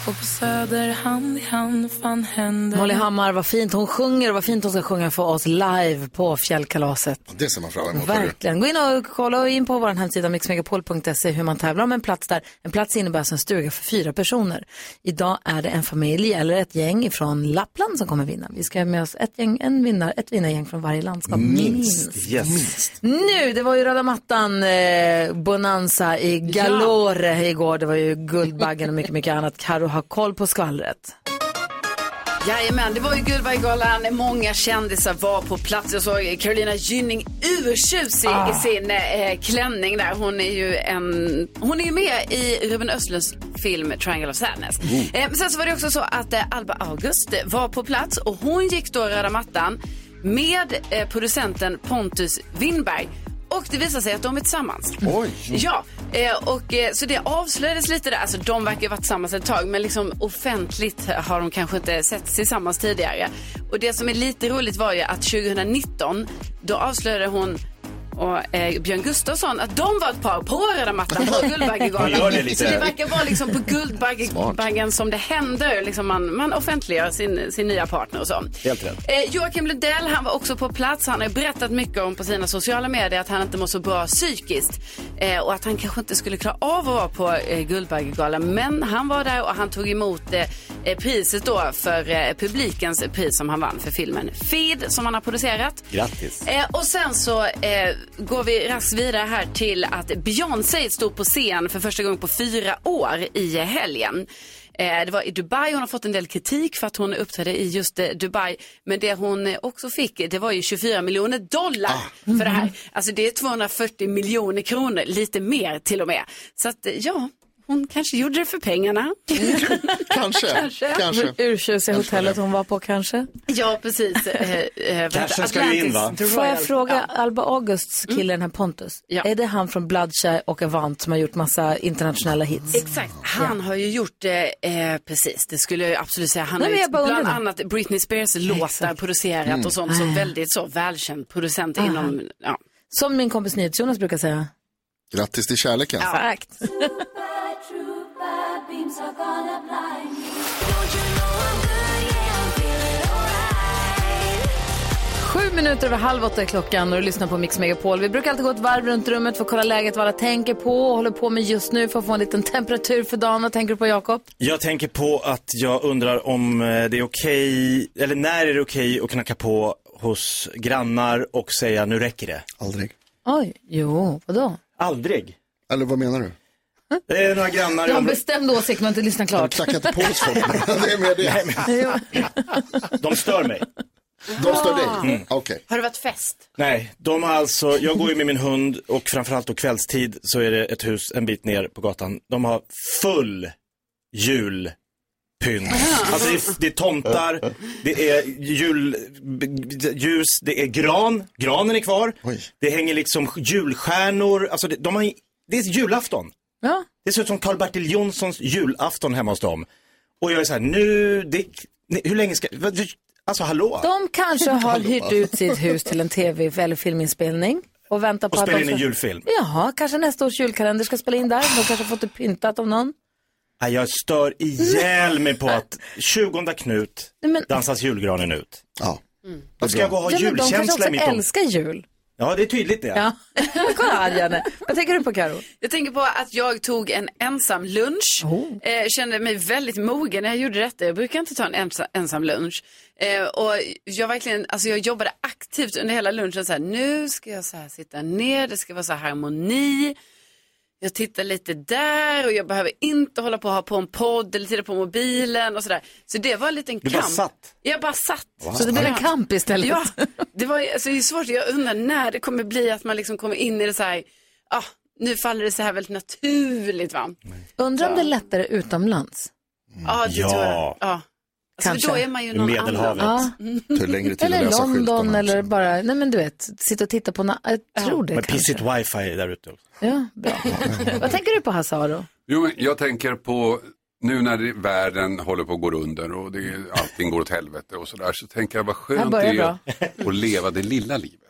S5: Och på Söder hand i hand fan händer
S1: Molly Hammar, vad fint hon sjunger och vad fint hon ska sjunga för oss live på fjällkalaset.
S3: Det ser man fram emot. hörru.
S1: Verkligen. Gå in och kolla in på vår hemsida mixmegapol.se hur man tävlar om en plats där. En plats innebär alltså en stuga för fyra personer. Idag är det en familj eller ett gäng ifrån Lappland som kommer vinna. Vi ska ha med oss ett, gäng, en vinnar, ett vinnargäng från varje landskap.
S2: Yes.
S1: Nu, det var ju röda mattan eh, bonanza i Galore igår. Det var ju Guldbaggen och mycket, mycket annat. Karo har koll på skvallret.
S5: Jajamän, det var ju Guldbaggegalan. Många kändisar var på plats. Jag såg Carolina Gynning urtjusig
S1: Ah.
S5: i sin eh, klänning där. Hon är ju en, hon är ju med i Ruben Östlunds film Triangle of Sadness.
S1: Mm.
S5: Eh, men sen så var det också så att eh, Alba August var på plats och hon gick då röda mattan med eh, producenten Pontus Winberg. Och det visar sig att de är tillsammans.
S3: Oj.
S2: Mm.
S5: Ja, eh, och, eh, så det avslöjades lite där. Alltså, de verkar ju varit tillsammans ett tag, men liksom offentligt har de kanske inte sett tillsammans tidigare. Och det som är lite roligt var ju att 2019, då avslöjade hon och eh, Björn Gustafsson att de var ett par på röda mattan på Guldbaggegalan.
S2: Hon gör det lite.
S5: Så det verkar vara liksom på Guldbaggen som det händer. Liksom man, man offentliggör sin, sin nya partner och så.
S2: Helt rätt.
S5: Eh, Joakim Lundell han var också på plats. Han har berättat mycket om på sina sociala medier att han inte mår så bra psykiskt eh, och att han kanske inte skulle klara av att vara på eh, Guldbaggegalan. Men han var där och han tog emot eh, eh, priset då för eh, publikens pris som han vann för filmen Feed som han har producerat.
S2: Grattis.
S5: Eh, och sen så eh, går vi raskt vidare här till att Beyoncé stod på scen för första gången på fyra år i eh, helgen. Eh, det var i Dubai, hon har fått en del kritik för att hon uppträdde i just eh, Dubai. Men det hon eh, också fick, det var ju 24 miljoner dollar för
S1: Mm.
S5: det här. Alltså det är 240 miljoner kronor, lite mer till och med. Så att eh, ja, hon kanske gjorde det för pengarna.
S3: kanske,
S5: kanske.
S1: Urtjusiga hotellet hon var på kanske.
S5: Ja, precis. Eh, eh, vad
S2: Cashen
S5: heter-
S2: ska ju in,
S5: Atlantis
S2: va?
S5: The
S1: Får
S5: Royal.
S1: jag fråga Alba Augusts kille,
S5: Mm.
S1: den här Pontus. Är det han från Bloodshy och Avant som har gjort massa internationella hits?
S5: Exakt, han har ju gjort eh, eh, precis, det skulle jag ju absolut säga. Han
S1: Nej,
S5: har
S1: men
S5: ju
S1: jag bara
S5: bland
S1: undrar.
S5: annat Britney Spears låtar producerat
S1: Mm.
S5: och sånt som
S1: Ah.
S5: väldigt så välkänd producent
S1: Ah.
S5: inom, ja.
S1: Som min kompis NyhetsJonas brukar säga.
S3: Grattis till kärleken.
S1: Exakt. Sju minuter över halv åtta är klockan och du lyssnar på Mix Megapol. Vi brukar alltid gå ett varv runt rummet för att kolla läget, vad alla tänker på och håller på med just nu för att få en liten temperatur för dagen. Vad tänker du på Jakob?
S2: Jag tänker på att jag undrar om eh, det är okej, eller när är det okej att knacka på hos grannar och säga nu räcker det?
S3: Aldrig.
S1: Oj, jo, vadå? Hm?
S2: Aldrig.
S3: Eller vad menar du?
S2: Det är några grannar
S1: Du
S2: i
S1: har en
S2: området.
S1: bestämd åsikt men inte lyssnat klart.
S3: Knacka inte på hos folk. det är mer det.
S2: De stör mig.
S3: De stör dig?
S2: Mm.
S3: Okej.
S5: Har det varit fest?
S2: Nej, de har alltså, jag går ju med min hund och framförallt då kvällstid så är det ett hus en bit ner på gatan. De har full julpynt. Alltså det är, det är tomtar, det är julljus, det är gran, granen är kvar. Det hänger liksom julstjärnor, alltså det, de har, ju- det är julafton.
S1: Ja.
S2: Det ser ut som Karl-Bertil Jonssons julafton hemma hos dem. Och jag är så här, nu, det, nej, hur länge ska, vad- alltså hallå?
S1: De kanske har
S2: Hallå.
S1: alltså. hyrt ut sitt hus till en tv eller filminspelning. Och vänta på
S2: Och
S1: att
S2: spela
S1: de
S2: in en
S1: ska-
S2: julfilm.
S1: Jaha, kanske nästa års julkalender ska spela in där. De kanske har fått det pyntat av någon.
S2: Nej, jag stör ihjäl mig på att 20 Knut
S1: Nej, men-
S2: dansas julgranen ut.
S3: Ja.
S2: Då ska jag gå och ha
S1: ja, men de kanske
S2: julkänsla
S1: också
S2: i mitt om...
S1: älskar jul.
S2: Ja, det är tydligt det.
S1: Ja. Kolla arg han är. Vad tänker du på Karo?
S5: Jag tänker på att jag tog en ensam lunch.
S1: Oh.
S5: Eh, kände mig väldigt mogen när jag gjorde detta. Jag brukar inte ta en ensa, ensam lunch. Eh, och jag, verkligen, alltså jag jobbade aktivt under hela lunchen. Så här, nu ska jag så här sitta ner, det ska vara så här harmoni. Jag tittar lite där och jag behöver inte hålla på och ha på en podd eller titta på mobilen och sådär. Så det var en liten
S1: Du bara
S5: kamp.
S1: satt?
S5: Jag bara satt.
S1: Wow. Så det blev en kamp istället?
S5: Ja, det, var, ju- alltså, det är svårt. Jag undrar när det kommer bli att man liksom kommer in i det så här, ah, nu faller det så här väldigt naturligt va?
S1: Mm. Undrar om det är lättare utomlands?
S5: Ja, Ah, det
S1: Ja.
S5: tror jag. Ja. Alltså,
S1: Kanske.
S5: då är man ju någon annan.
S2: Mm.
S1: Ja.
S3: Tar längre tid att
S1: eller
S3: läsa
S1: London
S3: skyltarna.
S1: eller bara, nej men du vet, sitta och titta på, na- jag tror det
S2: Med
S1: kanske.
S2: pissigt wifi där ute. också.
S1: Ja, bra. Vad tänker du på Hasse Aro?
S19: Jo, men jag tänker på nu när världen håller på att gå under och det, allting går åt helvete och sådär så tänker jag vad
S1: Här
S19: skönt
S1: börjar
S19: det är
S1: bra.
S19: att leva det lilla livet.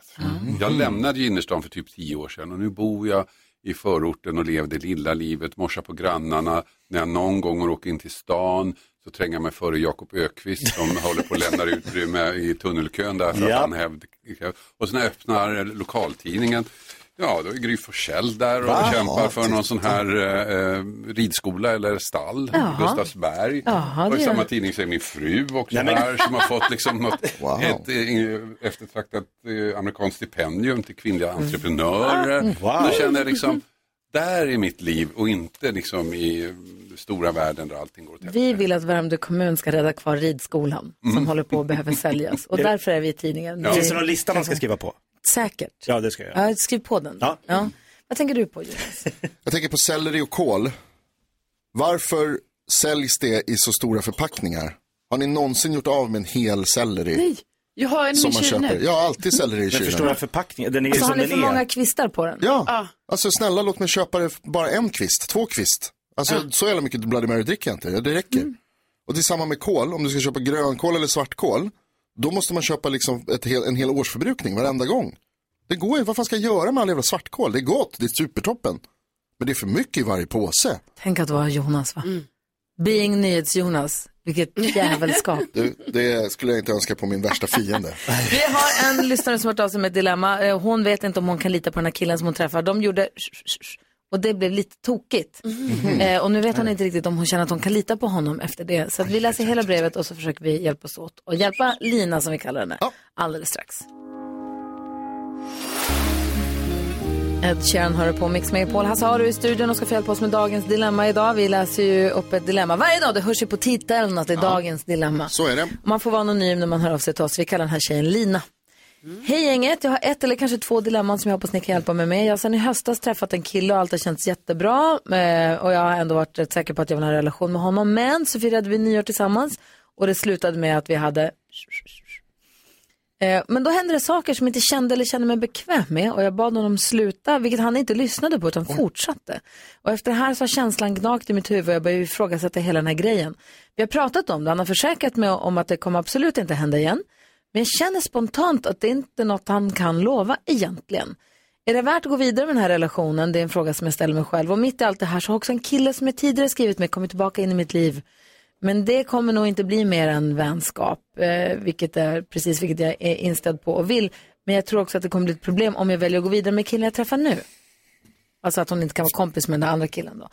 S19: Jag lämnade ju innerstan för typ tio år sedan och nu bor jag i förorten och lever det lilla livet, morsar på grannarna. När jag någon gång åker in till stan så tränger jag mig före Jakob Ökvist som håller på att lämna utrymme i tunnelkön där för
S2: Ja.
S19: att han hävd. Och sen när jag öppnar lokaltidningen, ja då är Gry Forssell där och
S2: Va?
S19: kämpar för någon sån här eh, eh, ridskola eller stall,
S1: Jaha.
S19: Gustavsberg.
S1: Jaha,
S19: och i
S1: det
S19: samma
S1: gör-
S19: tidning så är min fru också
S2: Nej, men-
S19: här som har fått liksom något, ett eh, eftertraktat eh, amerikanskt stipendium till kvinnliga entreprenörer.
S2: Mm. Wow.
S19: Då känner jag liksom, där är mitt liv och inte liksom i stora världen där allting går åt helvete.
S1: Vi vill att Värmdö kommun ska rädda kvar ridskolan som
S19: Mm.
S1: håller på att behöva säljas. Och
S2: Är det-
S1: därför är vi i tidningen. Vi-
S2: Finns det någon lista man ska skriva på?
S1: Säkert.
S2: Ja, det ska jag göra.
S1: Ja, skriv på den.
S2: Ja.
S1: Vad tänker du på Jonas?
S3: Jag tänker på selleri och kål. Varför säljs det i så stora förpackningar? Har ni någonsin gjort av med en hel selleri?
S5: Nej, jag har en i
S3: som man
S5: kylen
S3: köper.
S5: nu.
S3: Jag har alltid selleri i
S2: Men
S3: kylen.
S2: förstår jag förpackningen? Den är
S1: Alltså, har ni för många kvistar på den?
S3: Ja, alltså snälla låt mig köpa det för bara en kvist, två kvist. Alltså så jävla mycket Bloody Mary dricker jag inte, det räcker. Och det är samma med kål, om du ska köpa grönkål eller svartkål, då måste man köpa liksom ett hel, en hel årsförbrukning varenda gång. Det går ju, vad fan ska jag göra med all jävla svartkål? Det är gott, det är supertoppen. Men det är för mycket i varje påse.
S1: Tänk att vara Jonas va?
S5: Mm.
S1: Being Nyhets-Jonas. Vilket jävelskap.
S3: Du, det skulle jag inte önska på min värsta fiende.
S1: Vi har en lyssnare som har hört av sig med ett dilemma. Eh, Hon vet inte om hon kan lita på den här killen som hon träffar. De gjorde och det blev lite tokigt. Eh, och nu vet hon inte riktigt om hon känner att hon kan lita på honom efter det. Så att vi läser hela brevet och så försöker vi hjälpas åt och hjälpa Lina som vi kallar henne alldeles strax. Ed Sheeran hör på Mix Megapol. Hasse Aro är i studion och ska få hjälpa oss med dagens dilemma idag. Vi läser ju upp ett dilemma varje dag. Det hörs ju på titeln att det är dagens dilemma.
S3: Så är det.
S1: Man får vara anonym när man hör av sig till oss. Vi kallar den här tjejen Lina. Hej gänget, jag har ett eller kanske två dilemman som jag hoppas ni kan hjälpa mig med. Jag har sedan i höstas träffat en kille och allt har känts jättebra eh, och jag har ändå varit rätt säker på att jag vill ha en relation med honom. Men så firade vi nyår tillsammans och det slutade med att vi hade Eh, Men då hände det saker som jag inte kände eller kände mig bekväm med och jag bad honom sluta, vilket han inte lyssnade på utan fortsatte. Och efter det här så har känslan gnagt i mitt huvud och jag började ifrågasätta hela den här grejen. Vi har pratat om det, han har försäkrat mig om att det kommer absolut inte hända igen. Men jag känner spontant att det inte är något han kan lova egentligen. Är det värt att gå vidare med den här relationen? Det är en fråga som jag ställer mig själv. Och mitt i allt det här så har också en kille som jag tidigare skrivit med kommit tillbaka in i mitt liv. Men det kommer nog inte bli mer än vänskap, eh, vilket är precis vilket jag är inställd på och vill. Men jag tror också att det kommer bli ett problem om jag väljer att gå vidare med killen jag träffar nu. Alltså att hon inte kan vara kompis med den där andra killen då.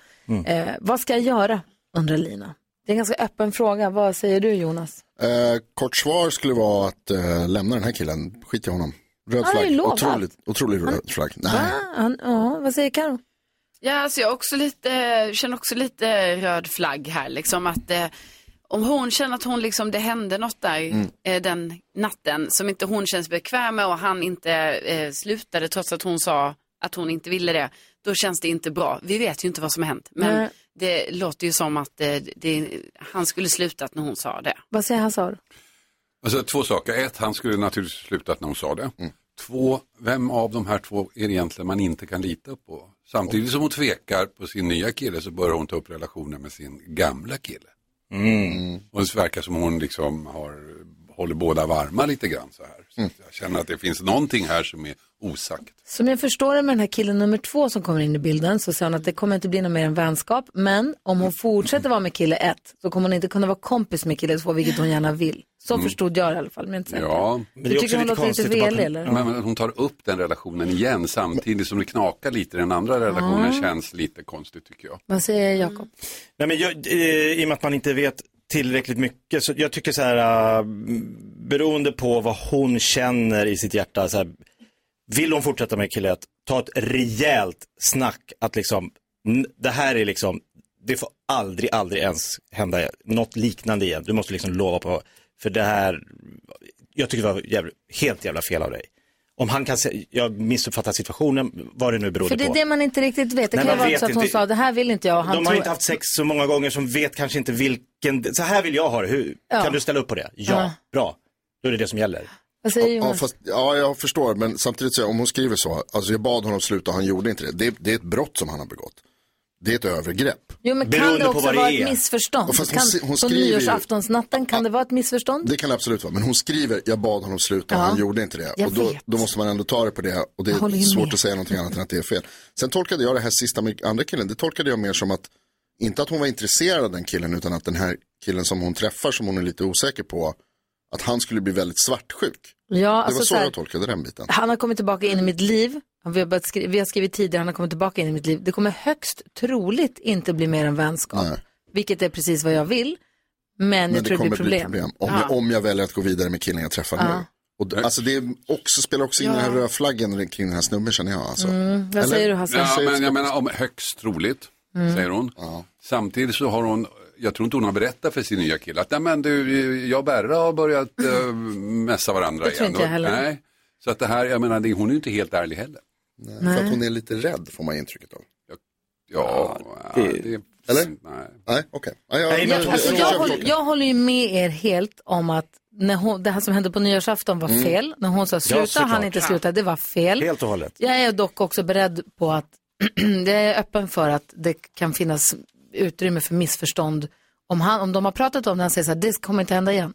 S1: Eh, vad ska jag göra, undrar Lina. Det är en ganska öppen fråga. Vad säger du Jonas?
S3: Eh, kort svar skulle vara att eh, lämna den här killen, skit i honom. Röd
S1: Han har ju
S3: flagg,
S1: lovat.
S3: otroligt, otrolig röd flagg. Nej.
S1: Ah, han, ja, vad säger Karo?
S5: Ja, alltså jag har också lite, känner också lite röd flagg här. Liksom att, eh, om hon känner att hon liksom, det hände något där
S3: Mm.
S5: eh, den natten som inte hon känns bekväm med och han inte eh, slutade trots att hon sa att hon inte ville det, då känns det inte bra. Vi vet ju inte vad som har hänt, men
S1: Nej.
S5: det låter ju som att eh, det, han skulle slutat när hon sa det.
S1: Vad säger Hassar?
S19: Alltså två saker. Ett, han skulle naturligtvis slutat när hon sa det. Två, vem av de här två är det egentligen man inte kan lita på? Samtidigt som hon tvekar på sin nya kille så börjar hon ta upp relationen med sin gamla kille. Och det verkar som hon liksom har håller båda varma lite grann så här. Så att jag känner att det finns någonting här som är osagt.
S1: Som jag förstår det med den här killen nummer två som kommer in i bilden så säger hon att det kommer inte bli något mer än vänskap. Men om hon fortsätter vara med kille ett så kommer hon inte kunna vara kompis med kille två, vilket hon gärna vill. Så
S19: Mm.
S1: förstod jag det i alla fall, men jag är inte säker.
S19: Ja,
S1: Du tycker hon låter lite velig eller?
S19: Men, men hon tar upp den relationen igen samtidigt som det knakar lite. Den andra relationen
S1: Ja.
S19: känns lite konstigt tycker jag.
S1: Vad säger Jakob?
S2: Nej, men jag, eh, I och med att man inte vet tillräckligt mycket så jag tycker så här eh, beroende på vad hon känner i sitt hjärta. Så här, vill hon fortsätta med killet, ta ett rejält snack att liksom n- det här är liksom, det får aldrig, aldrig ens hända något liknande igen. Du måste liksom lova på, för det här, jag tycker det var jävla, helt jävla fel av dig. Om han kan, se- jag missuppfattar situationen, vad det nu berodde
S1: För det
S2: på.
S1: är det man inte riktigt vet. Det
S2: Nej,
S1: kan
S2: man
S1: ju vara
S2: vet
S1: så att hon
S2: inte.
S1: sa det här vill inte jag och han
S2: De har
S1: tror...
S2: inte haft sex så många gånger som vet kanske inte vilken, så här vill jag ha det, Hur,
S1: Ja.
S2: kan du ställa upp på det? Ja,
S1: Ja.
S2: bra, då är det det som gäller.
S1: Vad säger
S3: Ja,
S1: Jonas?
S3: fast, ja, jag förstår, men samtidigt så, om hon skriver så, alltså jag bad honom sluta och han gjorde inte det. det. Det är ett brott som han har begått. Det är ett övergrepp.
S1: Jo, men kan det också vara ett missförstånd?
S3: Fast hon
S1: kan,
S3: si- hon
S1: på
S3: skriver ju-
S1: nyårsaftonsnatten kan det vara ett missförstånd?
S3: Det kan det absolut vara, men hon skriver, jag bad honom sluta och
S1: Ja.
S3: han gjorde inte det.
S1: Jag
S3: Och då,
S1: vet.
S3: då måste man ändå ta det på det och det
S1: Jag håller
S3: är
S1: ju
S3: svårt
S1: med.
S3: att säga någonting annat än att det är fel. Sen tolkade jag det här sista med andra killen, det tolkade jag mer som att, inte att hon var intresserad av den killen utan att den här killen som hon träffar som hon är lite osäker på, att han skulle bli väldigt svartsjuk.
S1: Ja,
S3: det
S1: alltså
S3: var så,
S1: så här-
S3: jag tolkade den biten.
S1: Han har kommit tillbaka in i mitt liv. Vi har, börjat skri- vi har skrivit tidigare, han har kommit tillbaka in i mitt liv. Det kommer högst troligt inte bli mer än vänskap. Vilket är precis vad jag vill. Men,
S3: Men
S1: jag
S3: det
S1: tror
S3: kommer
S1: det blir problem.
S3: om,
S1: Ja.
S3: jag, om jag väljer att gå vidare med killen jag träffar
S1: Ja.
S3: nu. Och, d- alltså det är också, spelar också in den här röda flaggen kring den här snubben känner jag. Alltså.
S1: Mm, vad säger du, Hasse?
S19: Ja, men jag menar om högst troligt,
S1: Mm.
S19: säger hon. Samtidigt så har hon, jag tror inte hon har berättat för sin nya kille att Nej, men du, jag och Berra har börjat äh, mässa varandra
S1: Det tror
S19: igen.
S1: inte jag heller.
S19: Nej. Så att det här, jag menar, det- hon är ju inte helt ärlig heller.
S3: Nej,
S1: Nej.
S3: För att hon är lite rädd får man intrycket av.
S19: Ja, det...
S3: Eller? Nej, okej. Ja, jag-
S19: Nej, men
S3: jag-
S1: Alltså,
S3: jag-
S1: jag,
S3: jag-
S1: håller, jag håller ju med er helt om att när hon, det här som hände på nyårsafton var
S3: Mm.
S1: fel. När hon sa sluta och han
S2: såklart.
S1: inte sluta, det var fel.
S2: Helt och hållet.
S1: Jag är dock också beredd på att jag är öppen för att det kan finnas utrymme för missförstånd. Om, han, om de har pratat om det, han säger så här, det kommer inte hända igen.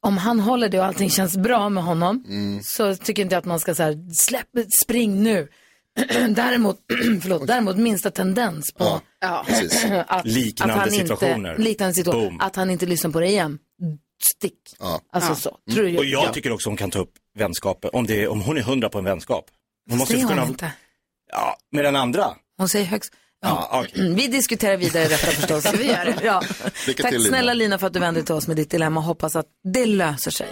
S1: Om han håller det och allting känns bra med honom så tycker inte jag att man ska så här, släpp, spring nu. däremot, förlåt, däremot minsta tendens på
S3: precis.
S1: att,
S3: Liknande
S1: att han
S3: situationer.
S1: Inte, liknande situationer.
S2: Boom.
S1: Att han inte lyssnar på det igen. Stick.
S3: Ja.
S1: Alltså så, tror jag.
S2: Mm. Och jag tycker också hon kan ta upp vänskapen, om, det, är- om hon är hundra på en vänskap. Hon
S1: Fast det
S2: ju
S1: är hon inte.
S2: Ja, med den andra.
S1: Hon säger högst.
S2: Ja, okej.
S1: Mm, Vi diskuterar vidare detta förstås.
S2: Ska vi göra det?
S1: Ja.
S2: Lycka
S1: Tack
S2: till, Lina.
S1: snälla Lina för att du vände dig till oss med ditt dilemma. Hoppas att det löser sig.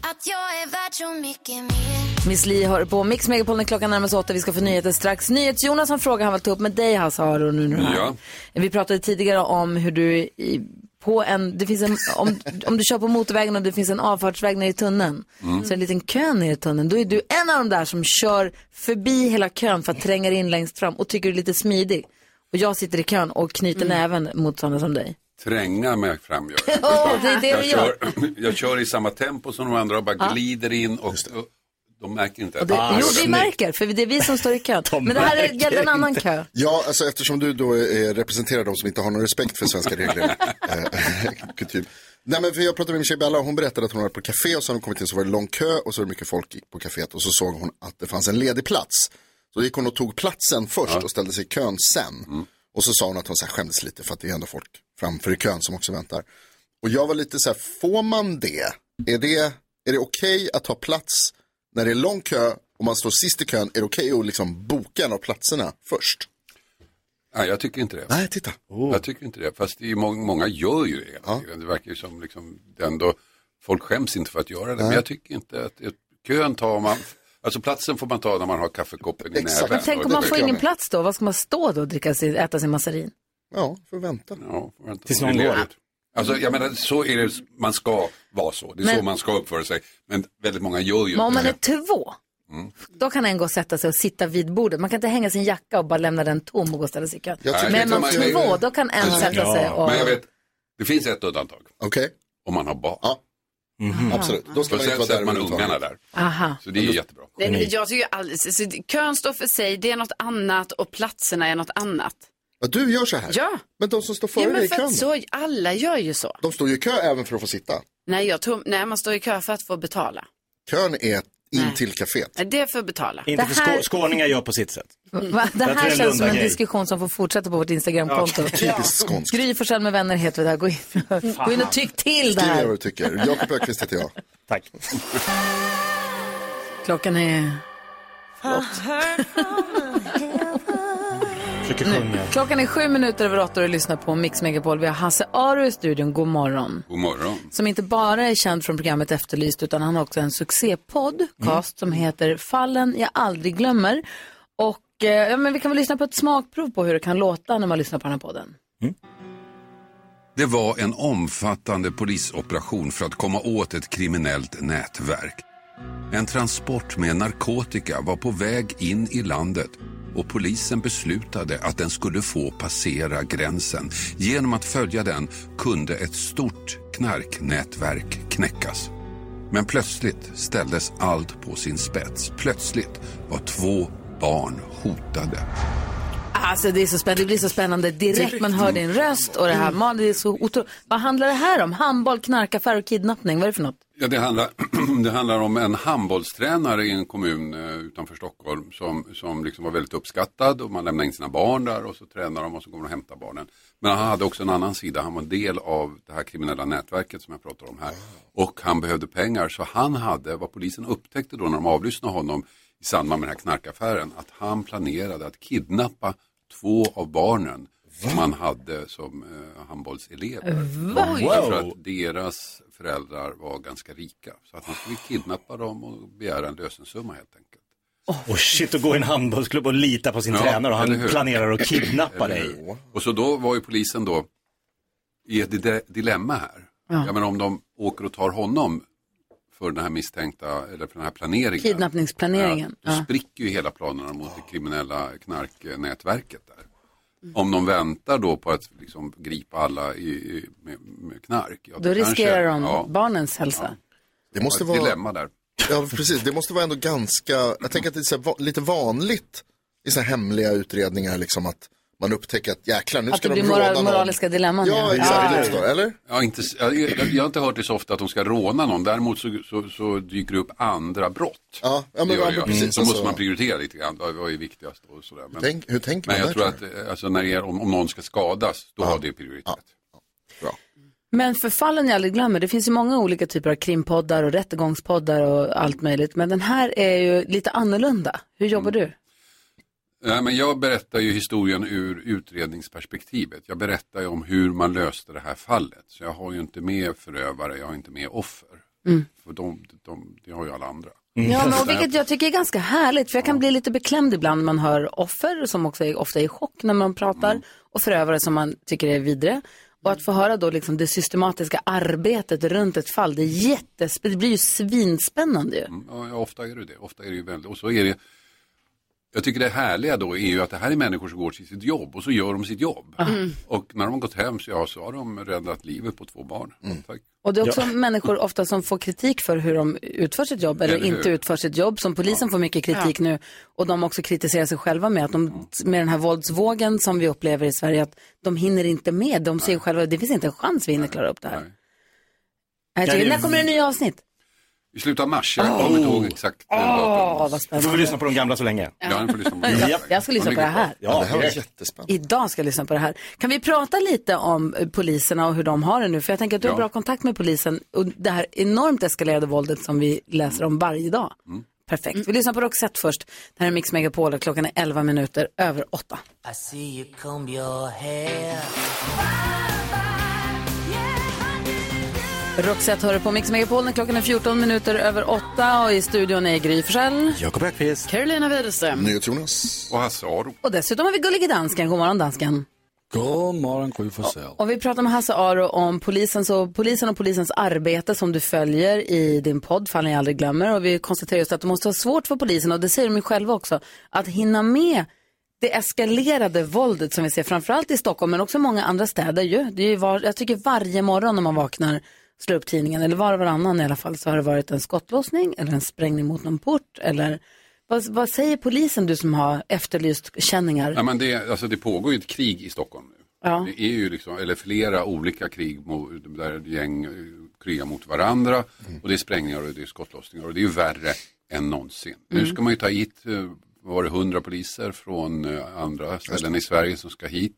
S14: Att jag är värd så mycket mer.
S1: Miss Li hör på Mix Megapol när klockan närmar sig åtta. Vi ska få nyheter strax. NyhetsJonas har en fråga han vill ta upp med dig Hasse Aro nu när du är här.
S6: Ja.
S1: Vi pratade tidigare om hur du i, på en, det finns en, om, om du kör på motorvägen och det finns en avfartsväg ner i tunneln.
S6: Mm.
S1: Så är det en liten kö ner i tunneln. Då är du en av de där som kör förbi hela kön för att tränga in längst fram och tycker du är lite smidig. Och jag sitter i kön och knyter
S6: Mm.
S1: näven mot sådana som dig.
S19: Tränga mig fram gör jag.
S1: Åh, det är det
S19: jag,
S1: du gör.
S19: kör, jag kör i samma tempo som de andra och bara
S1: Ja.
S19: glider in och, och de märker inte
S1: Och det,
S6: Ah,
S1: jo, vi märker, för det är vi som står i kön. Men det här är- gäller en annan kö.
S3: Ja, alltså eftersom du då eh, representerar de som inte har någon respekt för svenska regler. eh, Kutym. Nej men för jag pratade med min tjej Bella och hon berättade att hon var på café och så hade hon kommit in så var det lång kö och så var det mycket folk gick på caféet och så såg hon att det fanns en ledig plats. Så gick hon och tog platsen först och ställde sig i kön sen. Och så sa hon att hon så här skämdes lite för att det är ändå folk framför i kön som också väntar. Och jag var lite så här, får man det? Är det, är det okej att ta plats när det är lång kö och man står sist i kön? Är det okej att liksom boka en av platserna först?
S19: Nej, jag tycker inte det.
S3: Nej, titta.
S19: Jag tycker inte det, fast det är ju må- många gör ju det hela tiden. Det verkar ju som liksom, det ändå, folk skäms inte för att göra det, men
S3: Nej.
S19: jag tycker inte att att kön tar man, alltså platsen får man ta när man har kaffekoppen i näven.
S1: Men tänk
S19: Och
S1: om
S19: det
S1: man
S19: tycker
S1: får
S19: jag
S1: ingen
S19: med.
S1: plats då? Vad ska man stå då och dricka sin, äta sin massarin?
S3: Ja, får vänta.
S19: Ja, får vänta.
S2: Tills
S19: Det är
S2: någon går.
S19: ledigt. Alltså, jag menar, så är det, man ska vara så, det är så
S1: Men-
S19: man ska uppföra sig, men väldigt många gör ju
S1: Men om
S19: inte
S1: man är
S19: det.
S1: två,
S19: Mm.
S1: då kan en gå och sätta sig och sitta vid bordet. Man kan inte hänga sin jacka och bara lämna den tom och gå och ställa sig i kön.
S19: Jag tycker
S1: Men
S19: inte
S1: om
S19: man-
S1: två, då kan en sätta sig och...
S19: Men jag vet, det finns ett undantag.
S3: Okej.
S19: Om man har barn.
S3: Ja.
S1: Mm-hmm.
S11: Absolut.
S3: Då ska man inte vara
S19: sätter
S3: där
S19: man
S3: överhuvudtaget.
S19: ungarna där.
S1: Aha.
S19: Så det är ju jättebra.
S5: alltså,
S11: Nej, men jag tycker ju alldeles, så kön står för sig, det är något annat och platserna är något annat.
S3: Ja, du gör så här?
S5: Ja.
S3: Men de som står före
S5: ja, men
S3: dig i
S5: för
S3: kön
S5: att så, alla gör ju så.
S3: De står ju i kö även för att få sitta.
S5: Nej, jag tror, nej, man står i kö för att få betala.
S3: Kön är in till kaféet.
S5: Nej, Det är för att betala.
S2: Inte
S5: Det
S2: för
S5: här-
S2: skå- skåningar gör på sitt sätt.
S19: Mm.
S1: Va? Det
S2: Jag tror
S1: här
S2: det är
S1: känns som en
S2: Lundagrej.
S1: diskussion som får fortsätta på vårt Instagramkonto.
S3: Ja, typiskt skånskt.
S1: Gry Forssell med vänner heter vi där. Gå in, gå in och tyck till
S3: Skriv ner
S1: där.
S3: vad du tycker. Jakob Öqvist heter jag.
S2: Tack.
S1: Klockan är...
S2: Försöker
S1: Nu.
S2: sjunga.
S1: Klockan är sju minuter över åtta och du lyssnar på Mix Megapol. Vi har Hasse Aro i studion. God morgon.
S19: God morgon.
S1: Som inte bara är känd från programmet Efterlyst utan han har också en
S19: Mm.
S1: succépoddcast som heter Fallen jag aldrig glömmer. Och eh, ja, men vi kan väl lyssna på ett smakprov på hur det kan låta när man lyssnar på den här podden.
S20: Det var en omfattande polisoperation för att komma åt ett kriminellt nätverk. En transport med narkotika var på väg in i landet och polisen beslutade att den skulle få passera gränsen. Genom att följa den kunde ett stort knarknätverk knäckas. Men plötsligt ställdes allt på sin spets. Plötsligt var två barn hotade.
S1: Alltså det är så spännande, det blir så spännande direkt man hör din röst och det här.
S19: Mm.
S1: Man, det är så otro... Vad handlar det här om? Handboll, knarkaffär och kidnappning, vad är det för något?
S19: Ja, det, handlar, det handlar om en handbollstränare i en kommun eh, utanför Stockholm som, som liksom var väldigt uppskattad och man lämnade in sina barn där och så tränar de och så går de och hämtar barnen. Men han hade också en annan sida, han var en del av det här kriminella nätverket som jag pratar om här. Och han behövde pengar så han hade, vad polisen upptäckte då när de avlyssnade honom i samband med den här knarkaffären, att han planerade att kidnappa två av barnen som han hade som eh, handbollselever.
S1: Va?
S19: För
S1: Wow.
S19: att deras föräldrar var ganska rika. Så att han skulle kidnappa dem och begära en lösensumma helt enkelt.
S2: Och Oh, shit, att gå i en handbollsklubb och lita på sin tränare och
S19: eller hur?
S2: han planerar att kidnappa
S19: Eller
S2: dig.
S19: hur? Och så då var ju polisen då i ett di- dilemma här.
S1: Ja.
S19: Ja, men om de åker och tar honom för den här misstänkta, eller för den här planeringen.
S1: Kidnappningsplaneringen.
S19: Ja, då
S1: Ja.
S19: spricker ju hela planerna mot det kriminella knarknätverket där. Om de väntar då på att liksom gripa alla i, i, med, med knark. ja,
S1: Då
S19: kanske-
S1: riskerar de
S19: ja,
S1: barnens hälsa.
S3: Det måste
S19: ett
S3: vara...
S19: dilemma där.
S3: Ja, precis. Det måste vara ändå ganska, jag tänker att det är så här, va- lite vanligt i så här hemliga utredningar liksom att man upptäcker att jäklar nu
S1: Att
S3: ska
S1: det
S3: de
S1: blir
S3: råna
S1: moral,
S3: någon.
S1: moraliska dilemman.
S3: Ja, exakt. just då, eller?
S19: Ja, inte, s- jag, jag, jag har inte hört det så ofta att de ska råna någon. Däremot så, så, så dyker det upp andra brott.
S3: Ja, ja, men-
S19: det
S3: ja,
S19: gör
S3: men
S19: jag.
S3: precis,
S19: Då måste
S3: alltså.
S19: man prioritera lite grann. Vad vad är viktigast och sådär. Men,
S3: Tänk- hur tänker
S19: men
S3: man
S19: jag
S3: där,
S19: tror att eh, alltså, när det är, om, om någon ska skadas, då har det prioritet.
S1: Men för fallen jag aldrig glömmer, det finns ju många olika typer av krimpoddar och rättegångspoddar och allt möjligt. Men den här är ju lite annorlunda. Hur jobbar du?
S3: Mm.
S19: Nej, men jag berättar ju historien ur utredningsperspektivet. Jag berättar ju om hur man löste det här fallet. Så jag har ju inte med förövare, jag har inte med offer.
S1: Mm.
S19: För de, de, det har ju alla andra.
S1: Ja,
S3: Mm.
S1: men, och vilket jag tycker är ganska härligt, för jag kan bli lite beklämd ibland när man hör offer som också är, ofta är i chock när man pratar
S3: Mm.
S1: och förövare som man tycker är vidre. Och att få höra då liksom det systematiska arbetet runt ett fall, det, är jättes- det blir ju svinspännande ju.
S3: Mm.
S19: Ja, ja, ofta är det det. Ofta är det ju väldigt, och så är det, jag tycker det härliga då är ju att det här är människor som går till sitt jobb och så gör de sitt jobb.
S1: Mm.
S19: Och när de har gått hem så, ja, så har de räddat livet på två barn. Tack.
S1: Och det är också människor ofta som får kritik för hur de utför sitt jobb eller
S19: Eller hur?
S1: inte utför sitt jobb. Som polisen får mycket kritik nu. Och de också kritiserar sig själva med att de, med den här våldsvågen som vi upplever i Sverige, att de hinner inte med. De ser ju själva, det finns inte en chans vi hinner klara upp det här. Jag
S19: Ja,
S1: tycker,
S19: det-
S1: när kommer det nya avsnitt?
S19: I slutet av mars, jag kommer inte ihåg exakt eh, datum.
S1: Oh.
S2: Då
S1: Åh, vad
S2: får vi
S1: spännande.
S2: lyssna på de gamla så länge.
S19: Ja, ni får lyssna på det.
S1: Jag, jag ska lyssna på det här.
S2: Ja, direkt.
S3: jättespännande.
S1: Idag ska jag lyssna på det här. Kan vi prata lite om eh, poliserna och hur de har det nu? För jag tänker att du har
S19: Ja.
S1: bra kontakt med polisen och det här enormt eskalerade våldet som vi läser om varje dag. Perfekt. Vi lyssnar på Roxette först. Det här är Mix Megapol och klockan är 11 minuter över 8.
S21: I see you comb your hair.
S1: Roxette hör du på Mix Megapol när klockan är 14 minuter över 8 och i studion är Gry Forssell.
S2: Jakob Ekqvist.
S1: Carolina Widerström.
S3: NyhetsJonas.
S19: Och Hasse Aro.
S1: Och dessutom har vi Gullige Dansken. God morgon dansken.
S10: God morgon Gry Forssell.
S1: Och vi pratar med Hasse Aro om polisen, så polisen och polisens arbete som du följer i din podd, Fallen jag aldrig glömmer. Och vi konstaterar just att det måste vara svårt för polisen, och det säger de ju själva också, att hinna med det eskalerade våldet som vi ser framförallt i Stockholm, men också i många andra städer ju. Det är ju var, jag tycker varje morgon när man vaknar, slår upp tidningen, eller var och varannan i alla fall, så har det varit en skottlossning eller en sprängning mot någon port eller Vad, vad säger polisen, du som har efterlyst känningar?
S19: Nej, men det, alltså, det pågår ju ett krig i Stockholm nu.
S1: Ja.
S19: Det är ju liksom, eller flera olika krig mo- där gäng eh, krigar mot varandra och det är sprängningar och det är skottlossningar och det är ju värre än någonsin. Nu
S12: Mm.
S19: ska man ju ta hit, eh, vad var det, 100 poliser från eh, andra ställen i Sverige som ska hit.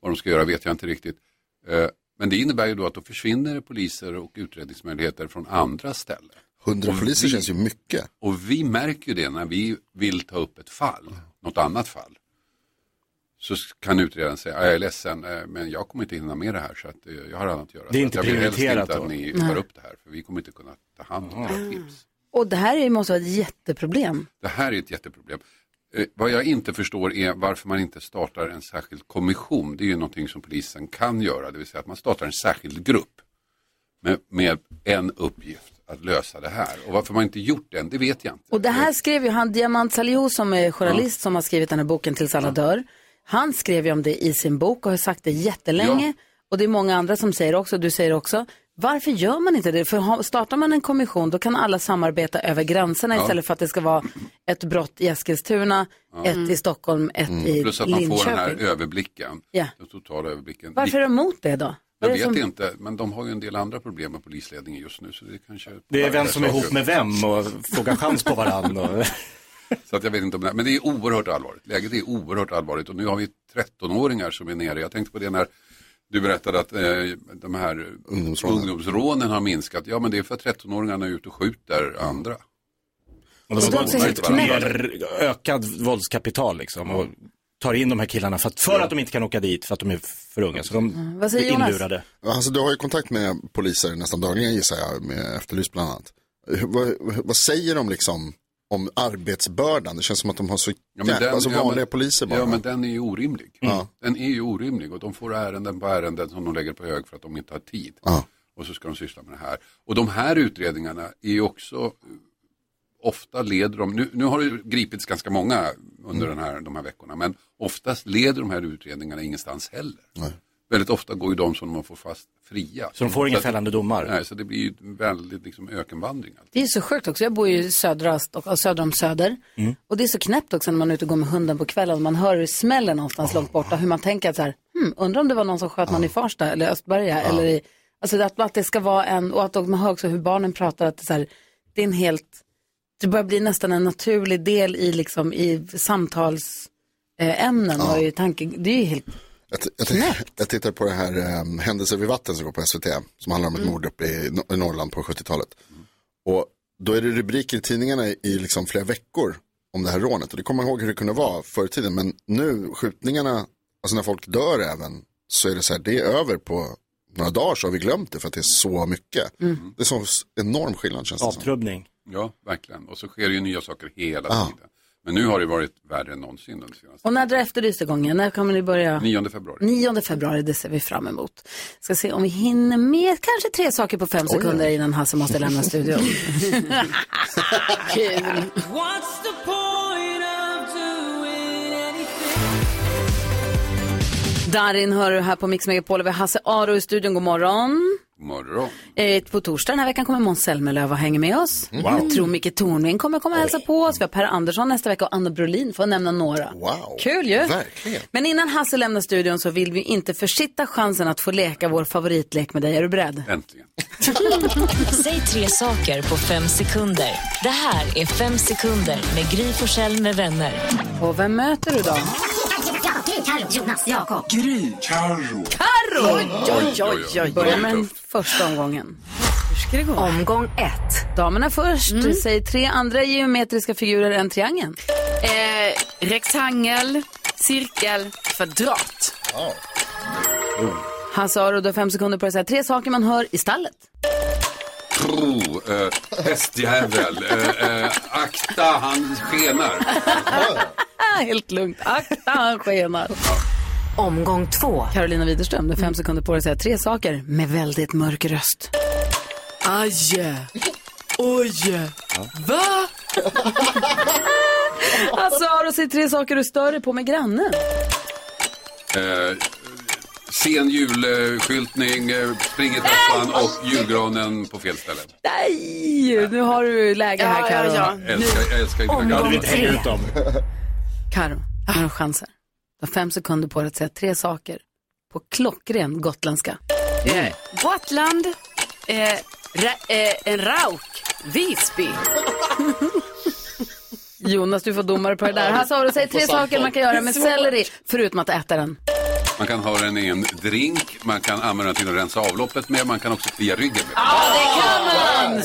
S19: Vad de ska göra vet jag inte riktigt. Eh, Men det innebär ju då att då försvinner poliser och utredningsmöjligheter från andra ställen.
S3: 100
S19: Och
S3: poliser känns ju mycket.
S19: Och vi märker ju det när vi vill ta upp ett fall, något annat fall. Så s- kan utredaren säga, jag är ledsen, eh, men jag kommer inte hinna med det här så att eh, jag har annat att göra.
S2: Det är
S19: Så
S2: inte
S19: att jag vill helst
S2: prioriterat
S19: inte
S2: då. Mm.
S19: att ni
S1: Nej.
S19: tar upp det här, för vi kommer inte kunna ta hand om det.
S1: Och det här är- måste vara ett jätteproblem.
S19: Det här är ett jätteproblem. Eh, vad jag inte förstår är varför man inte startar en särskild kommission. Det är ju någonting som polisen kan göra, det vill säga att man startar en särskild grupp med, med en uppgift att lösa det här. Och varför man inte gjort den, det vet jag inte.
S1: Och det här skrev ju han, Diamant Salihu som är journalist som har skrivit den här boken Tills alla dör. Han skrev ju om det i sin bok och har sagt det jättelänge. Och det är många andra som säger också, du säger också. Varför gör man inte det? För ha- startar man en kommission då kan alla samarbeta över gränserna
S19: Ja.
S1: istället för att det ska vara ett brott i Eskilstuna,
S19: Ja. Mm.
S1: ett i Stockholm, ett i
S19: Plus att man
S1: Linköping.
S19: får den här överblicken,
S1: Ja.
S19: den totala överblicken.
S1: Varför är de emot det då? Vad
S19: Jag
S1: är det
S19: vet
S1: som-
S19: inte, men de har ju en del andra problem med polisledningen just nu. Så det, kanske
S2: Det är vem som är ihop med vem och frågar chans på varandra.
S19: Så att jag vet inte om det, men det är oerhört allvarligt. Läget är oerhört allvarligt och nu har vi 13-åringar som är nere. Jag tänkte på det när du berättade att eh, de här ungdomsrånen. har minskat. Ja, men det är för att 13-åringarna är ute och skjuter andra.
S2: Och de
S19: de
S2: har
S19: också helt
S2: ett mer ökad våldskapital liksom. Och tar in de här killarna för att, för att de inte kan åka dit för att de är för unga. Så de
S1: Mm. Vad säger
S2: blir
S1: Jonas?
S2: inlurade.
S3: Alltså, du har ju kontakt med poliser nästan dagligen gissar jag, med Efterlyst bland annat. Hur- Vad, vad säger de liksom om arbetsbördan? Det känns som att de har så jävla, alltså vanliga
S19: men,
S3: poliser bara.
S19: Ja, men den är ju orimlig.
S3: Ja.
S19: Den är ju orimlig och de får ärenden på ärenden som de lägger på hög för att de inte har tid. Och så ska de syssla med det här. Och de här utredningarna är ju också eh, Ofta leder de, nu, nu har det ju gripits ganska många under
S3: Mm.
S19: den här, de här veckorna, men oftast leder de här utredningarna ingenstans heller. Väldigt ofta går ju de som man får fast fria.
S2: Så de får inga
S19: att-
S2: fällande domar?
S19: Nej, så det blir ju en väldigt liksom, ökenvandring.
S1: Det är ju så sjukt också. Jag bor ju södra, Stock- söder om Söder. Och det är så knäppt också när man är ute och går med hunden på kvällen. Man hör hur smällen någonstans långt borta. Hur man tänker att så här, hmm, undrar om det var någon som sköt någon i Farsta eller Östberga. Eller i, alltså att, att det ska vara en, och att man hör också hur barnen pratar. Att det, är så här, det är en helt, det börjar bli nästan en naturlig del i, liksom, i samtalsämnen och i tanke. Det är ju helt,
S3: Jag, t- jag, t- jag tittar på det här eh, Händelser vid vatten som går på SVT. Som handlar om ett
S1: Mm.
S3: mord uppe i, Nor- i Norrland på 70-talet. Och då är det rubriker i tidningarna i, i liksom flera veckor om det här rånet. Och det kommer man ihåg hur det kunde vara förr i tiden. Men nu skjutningarna, alltså när folk dör även. Så är det så här, det är över på några dagar så har vi glömt det för att det är så mycket.
S1: Mm.
S3: Det är så s- enorm skillnad känns det som.
S2: Avtrubbning.
S19: Ja, verkligen. Och så sker ju nya saker hela
S3: Ja.
S19: tiden. Men nu har det varit värre än någonsin den senaste.
S1: och när drar efterlystegången? När kommer ni börja?
S19: 9 februari.
S1: 9 februari, det ser vi fram emot. Ska se om vi hinner med kanske tre saker på fem sekunder innan Hasse måste lämna studion. Kul.
S22: What's the point of doing anything?
S1: Darin hör du här på Mix Megapol. Vi har Hasse Aro i studion. God morgon.
S19: God morgon.
S1: Eh, På torsdag den här veckan kommer Måns Zelmerlöw och hänga med oss.
S19: Mm. Wow.
S1: Jag tror Micke Tornving kommer komma och hälsa på oss. Vi har Per Andersson nästa vecka och Anna Brolin för att nämna några.
S3: Wow.
S1: Kul ju.
S3: Verkligen.
S1: Men innan Hasse lämnar studion så vill vi inte försitta chansen att få leka vår favoritlek med dig. Är du beredd?
S19: Äntligen.
S6: Säg tre saker på fem sekunder. Det här är Fem sekunder med Gry Forssell med vänner.
S1: Och vem möter du då?
S6: Jonas, Jakob.
S1: Gry. Carro. Carro!
S6: Oj, oj, oj, oj.
S1: Börja med den första omgången. Hur ska det gå? Omgång ett. Damerna först. Mm. Säg tre andra geometriska figurer än triangeln.
S5: Eh, rektangel, cirkel, kvadrat.
S1: Hasse Aro, du har fem sekunder på dig att säga tre saker man hör i stallet.
S19: Tro, eh, hästjävel, eh, eh, akta han skenar.
S1: Ah, Helt lugnt. Akta, han skenar. Omgång två. Carolina Widerström, du
S19: Mm.
S1: har fem sekunder på dig att säga tre saker med väldigt mörk röst.
S22: Aj! Oj! Va?
S1: Hasse Alltså, Aro, säg tre saker du stör dig på med grannen.
S19: Eh, sen julskyltning, eh, spring i trappan och julgranen på fel ställe.
S1: Där Nej! Nu har du läge här
S19: Ja, ja,
S1: Karo.
S19: ja. Jag älskar- jag älskar ju mina
S1: Omgång
S19: gamla. Jag vill inte hänga
S1: tre.
S19: ut dem.
S1: Karo, du har några chanser. Du har fem sekunder på dig att säga tre saker på klockren gotländska.
S5: Eh, Gotland, eh, ra, eh, en rauk, Visby.
S1: Jonas, du får domare på det där. Här sa du, säg tre
S19: På
S1: saker
S19: samtal.
S1: man kan göra med
S19: Svårt.
S1: selleri, förutom att äta den.
S19: Man kan ha den i en drink, man kan använda den till att rensa avloppet med, man kan också klia ryggen med.
S1: Man,
S3: bra.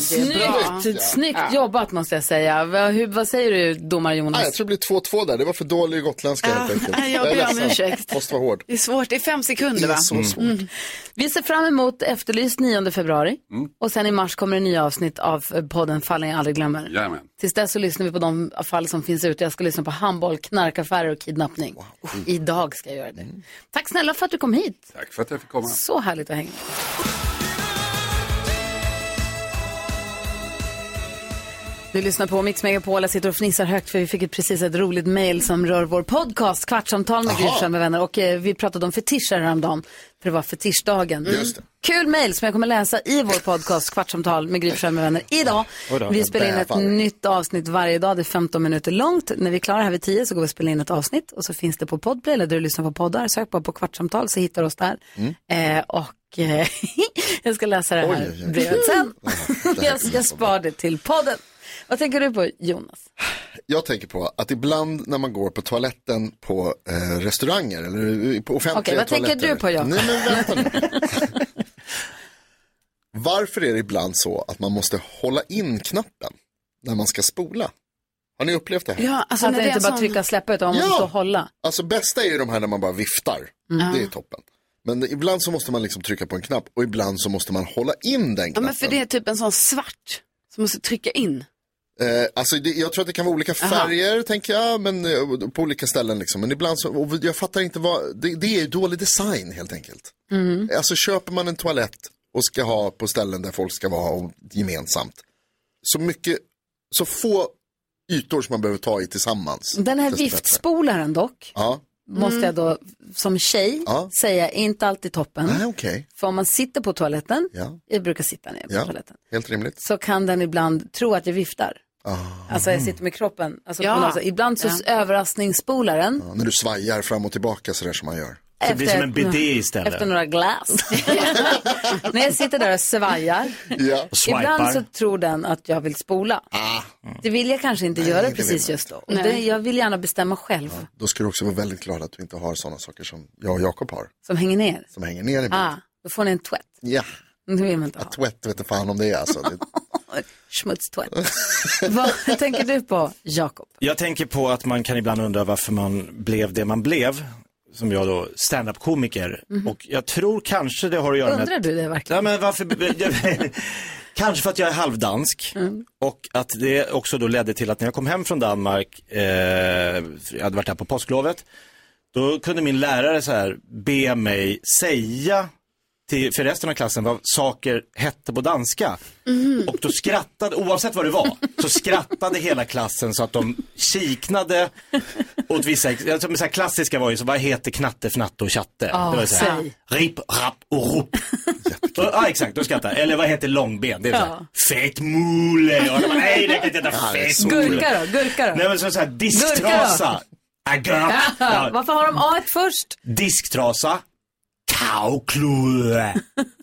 S1: snyggt, snyggt jobbat måste jag säga. Vad, hur, vad säger du domare
S3: Nej,
S1: Jonas?
S3: jag tror det blir 2-2 där. Det var för dålig gotländska helt enkelt.
S1: nej, jag ber
S3: är
S1: om
S3: ledsen.
S1: ursäkt.
S3: Måste vara hård.
S5: Det är svårt, det är fem sekunder
S3: Det är
S5: va?
S3: så svårt.
S1: Mm. Vi ser fram emot Efterlyst 9 februari
S3: Mm.
S1: och sen i mars kommer det nya avsnitt av eh, podden Fallen jag aldrig glömmer.
S19: Jajamän.
S1: Tills dess så lyssnar vi på de fall som finns ute. Jag ska lyssna på handboll, knarkaffärer och kidnappning. Idag ska jag göra det. Tack snälla för att du kom hit.
S19: Tack för att jag fick komma.
S1: Så härligt att hänga med. Du lyssnar på Mix Megapol, jag sitter och fnissar högt för vi fick ett, precis ett roligt mail som rör vår podcast Kvartsamtal med
S23: Jaha.
S1: Gryfsjön med vänner och eh, vi pratade om fetischer häromdagen för det var fetischdagen.
S23: Just det.
S1: Kul mail som jag kommer läsa i vår podcast Kvartsamtal med Gryfsjön med vänner idag.
S23: Oj då.
S1: vi spelar in ett
S23: Bävar.
S1: nytt avsnitt varje dag, det är 15 minuter långt. När vi är klara här vid 10 så går vi och spelar in ett avsnitt och så finns det på Podplay eller där du lyssnar på poddar. Sök bara på Kvartsamtal så hittar du oss där.
S5: Mm.
S1: Eh, och eh, jag ska läsa det här
S3: Oj, oj, oj.
S1: brevet sen.
S3: här
S1: jag, jag spar det till podden. Vad tänker du på Jonas?
S3: Jag tänker på att ibland när man går på toaletten på eh, restauranger eller i- på offentliga
S1: Okej, vad
S3: toaletter.
S1: tänker du på, Jakob?
S3: Nej, men vänta nu. Varför är det ibland så att man måste hålla in knappen när man ska spola? Har ni upplevt det här?
S5: alltså
S1: att alltså det inte bara trycka och släppa utan man
S3: Ja.
S1: måste stå och hålla.
S3: Alltså bästa är ju de här när man bara viftar.
S1: Mm.
S3: Det är toppen. Men ibland så måste man liksom trycka på en knapp och ibland så måste man hålla in den
S5: Ja,
S3: knappen.
S5: men för det är typ en sån svart som måste trycka in.
S3: Eh, alltså det, jag tror att det kan vara olika färger tänker jag, men eh, på olika ställen liksom. Men ibland så, och jag fattar inte vad, det, det är ju dålig design helt enkelt.
S1: Mm.
S3: Alltså köper man en toalett och ska ha på ställen där folk ska vara och gemensamt. Så mycket, så få ytor som man behöver ta i tillsammans.
S1: Den här
S3: desto bättre.
S1: viftspolaren dock,
S3: Ja. Mm.
S1: måste jag då som tjej
S3: Ja.
S1: säga, är inte alltid toppen.
S3: Nej, okej.
S1: För om man sitter på toaletten,
S3: Ja.
S1: jag brukar sitta ner på
S3: Ja,
S1: toaletten,
S3: helt rimligt.
S1: så kan den ibland tro att jag viftar.
S3: Ah.
S1: Alltså jag sitter med kroppen. Alltså,
S5: Ja.
S1: på något sätt. ibland så
S5: Ja.
S1: överraskningsspolaren,
S3: Ja, när du svajar fram och tillbaka sådär som man gör.
S1: Det blir Efter- som en bidé istället. efter några glass. när jag sitter där och svajar,
S3: Ja.
S1: ibland så tror den att jag vill spola.
S3: Ah.
S1: Det vill jag kanske inte göra
S3: det vill
S1: precis
S3: man
S1: just då. Och
S3: inte.
S1: det, jag vill gärna bestämma själv,
S3: Då ska du också vara väldigt glad att du inte har sådana saker som jag och Jakob har.
S1: som hänger ner.
S3: Som hänger ner i bild.
S1: Ah, då får ni en tvätt.
S3: Ja,
S1: Det vill man inte ha.
S3: att tvätt vet inte fan om det är alltså. Det-
S1: Smutstvätt. Vad tänker du på, Jakob?
S2: Jag tänker på att man kan ibland undra varför man blev det man blev, som jag då, stand-up-komiker.
S1: Mhm.
S2: Och jag tror kanske det har att göra med...
S1: Undrar du det verkligen?
S2: Ja, men varför... kanske för att jag är halvdansk. Och att det också då ledde till att när jag kom hem från Danmark, eh, jag hade varit där på påsklovet, då kunde min lärare så här be mig säga till, för resten av klassen vad saker hette på danska. Och då skrattade, oavsett vad det var, så skrattade hela klassen så att de kiknade åt vissa, alltså, men så här klassiska var ju så, vad heter knatte, fnatte och tjatte?
S6: Ja,
S2: det var ju så här,
S6: säg.
S2: rip, rapp och rop. Och- Ja exakt, då skrattar jag. Eller vad heter långben? Det är så här,
S6: Ja.
S2: fet mule. Och alla bara, nej det kan inte heta
S6: Ja, det är
S2: fet
S6: så
S2: mule.
S1: Gurka då, gurka då.
S2: Nej men så, så här,
S1: Gurka
S2: disktrasa. Agurk.
S1: Ja,
S2: Ja,
S1: varför har de A först?
S2: disktrasa. Kauklude.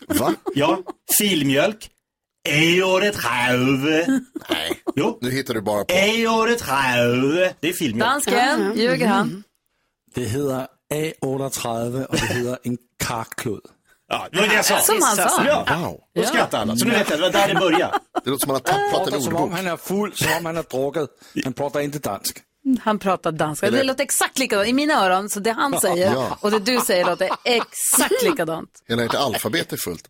S3: Va?
S2: Ja, filmjölk. Eoret halve.
S3: Nej.
S2: Jo.
S3: Nu hittar du bara på.
S2: Eoret halve. Det är filmjölk.
S1: Dansken, ljuger han?
S10: Det hedder A38, og det hedder en karklud.
S2: Ja, det var det, jeg så. Som han sa. Ja. Då skrattar alla. Så nu vet jag, det var där det började.
S3: Det låter som att
S10: han
S3: har tappat en
S10: Som om
S3: ordbok.
S10: han är full, som om han har druckit. Han pratar inte dansk.
S1: Han pratar danska. Det
S10: Eller-
S1: låter exakt likadant i mina öron, så det han säger
S3: Ja.
S1: och det du säger låter exakt likadant.
S3: Hela ert alfabet är fullt.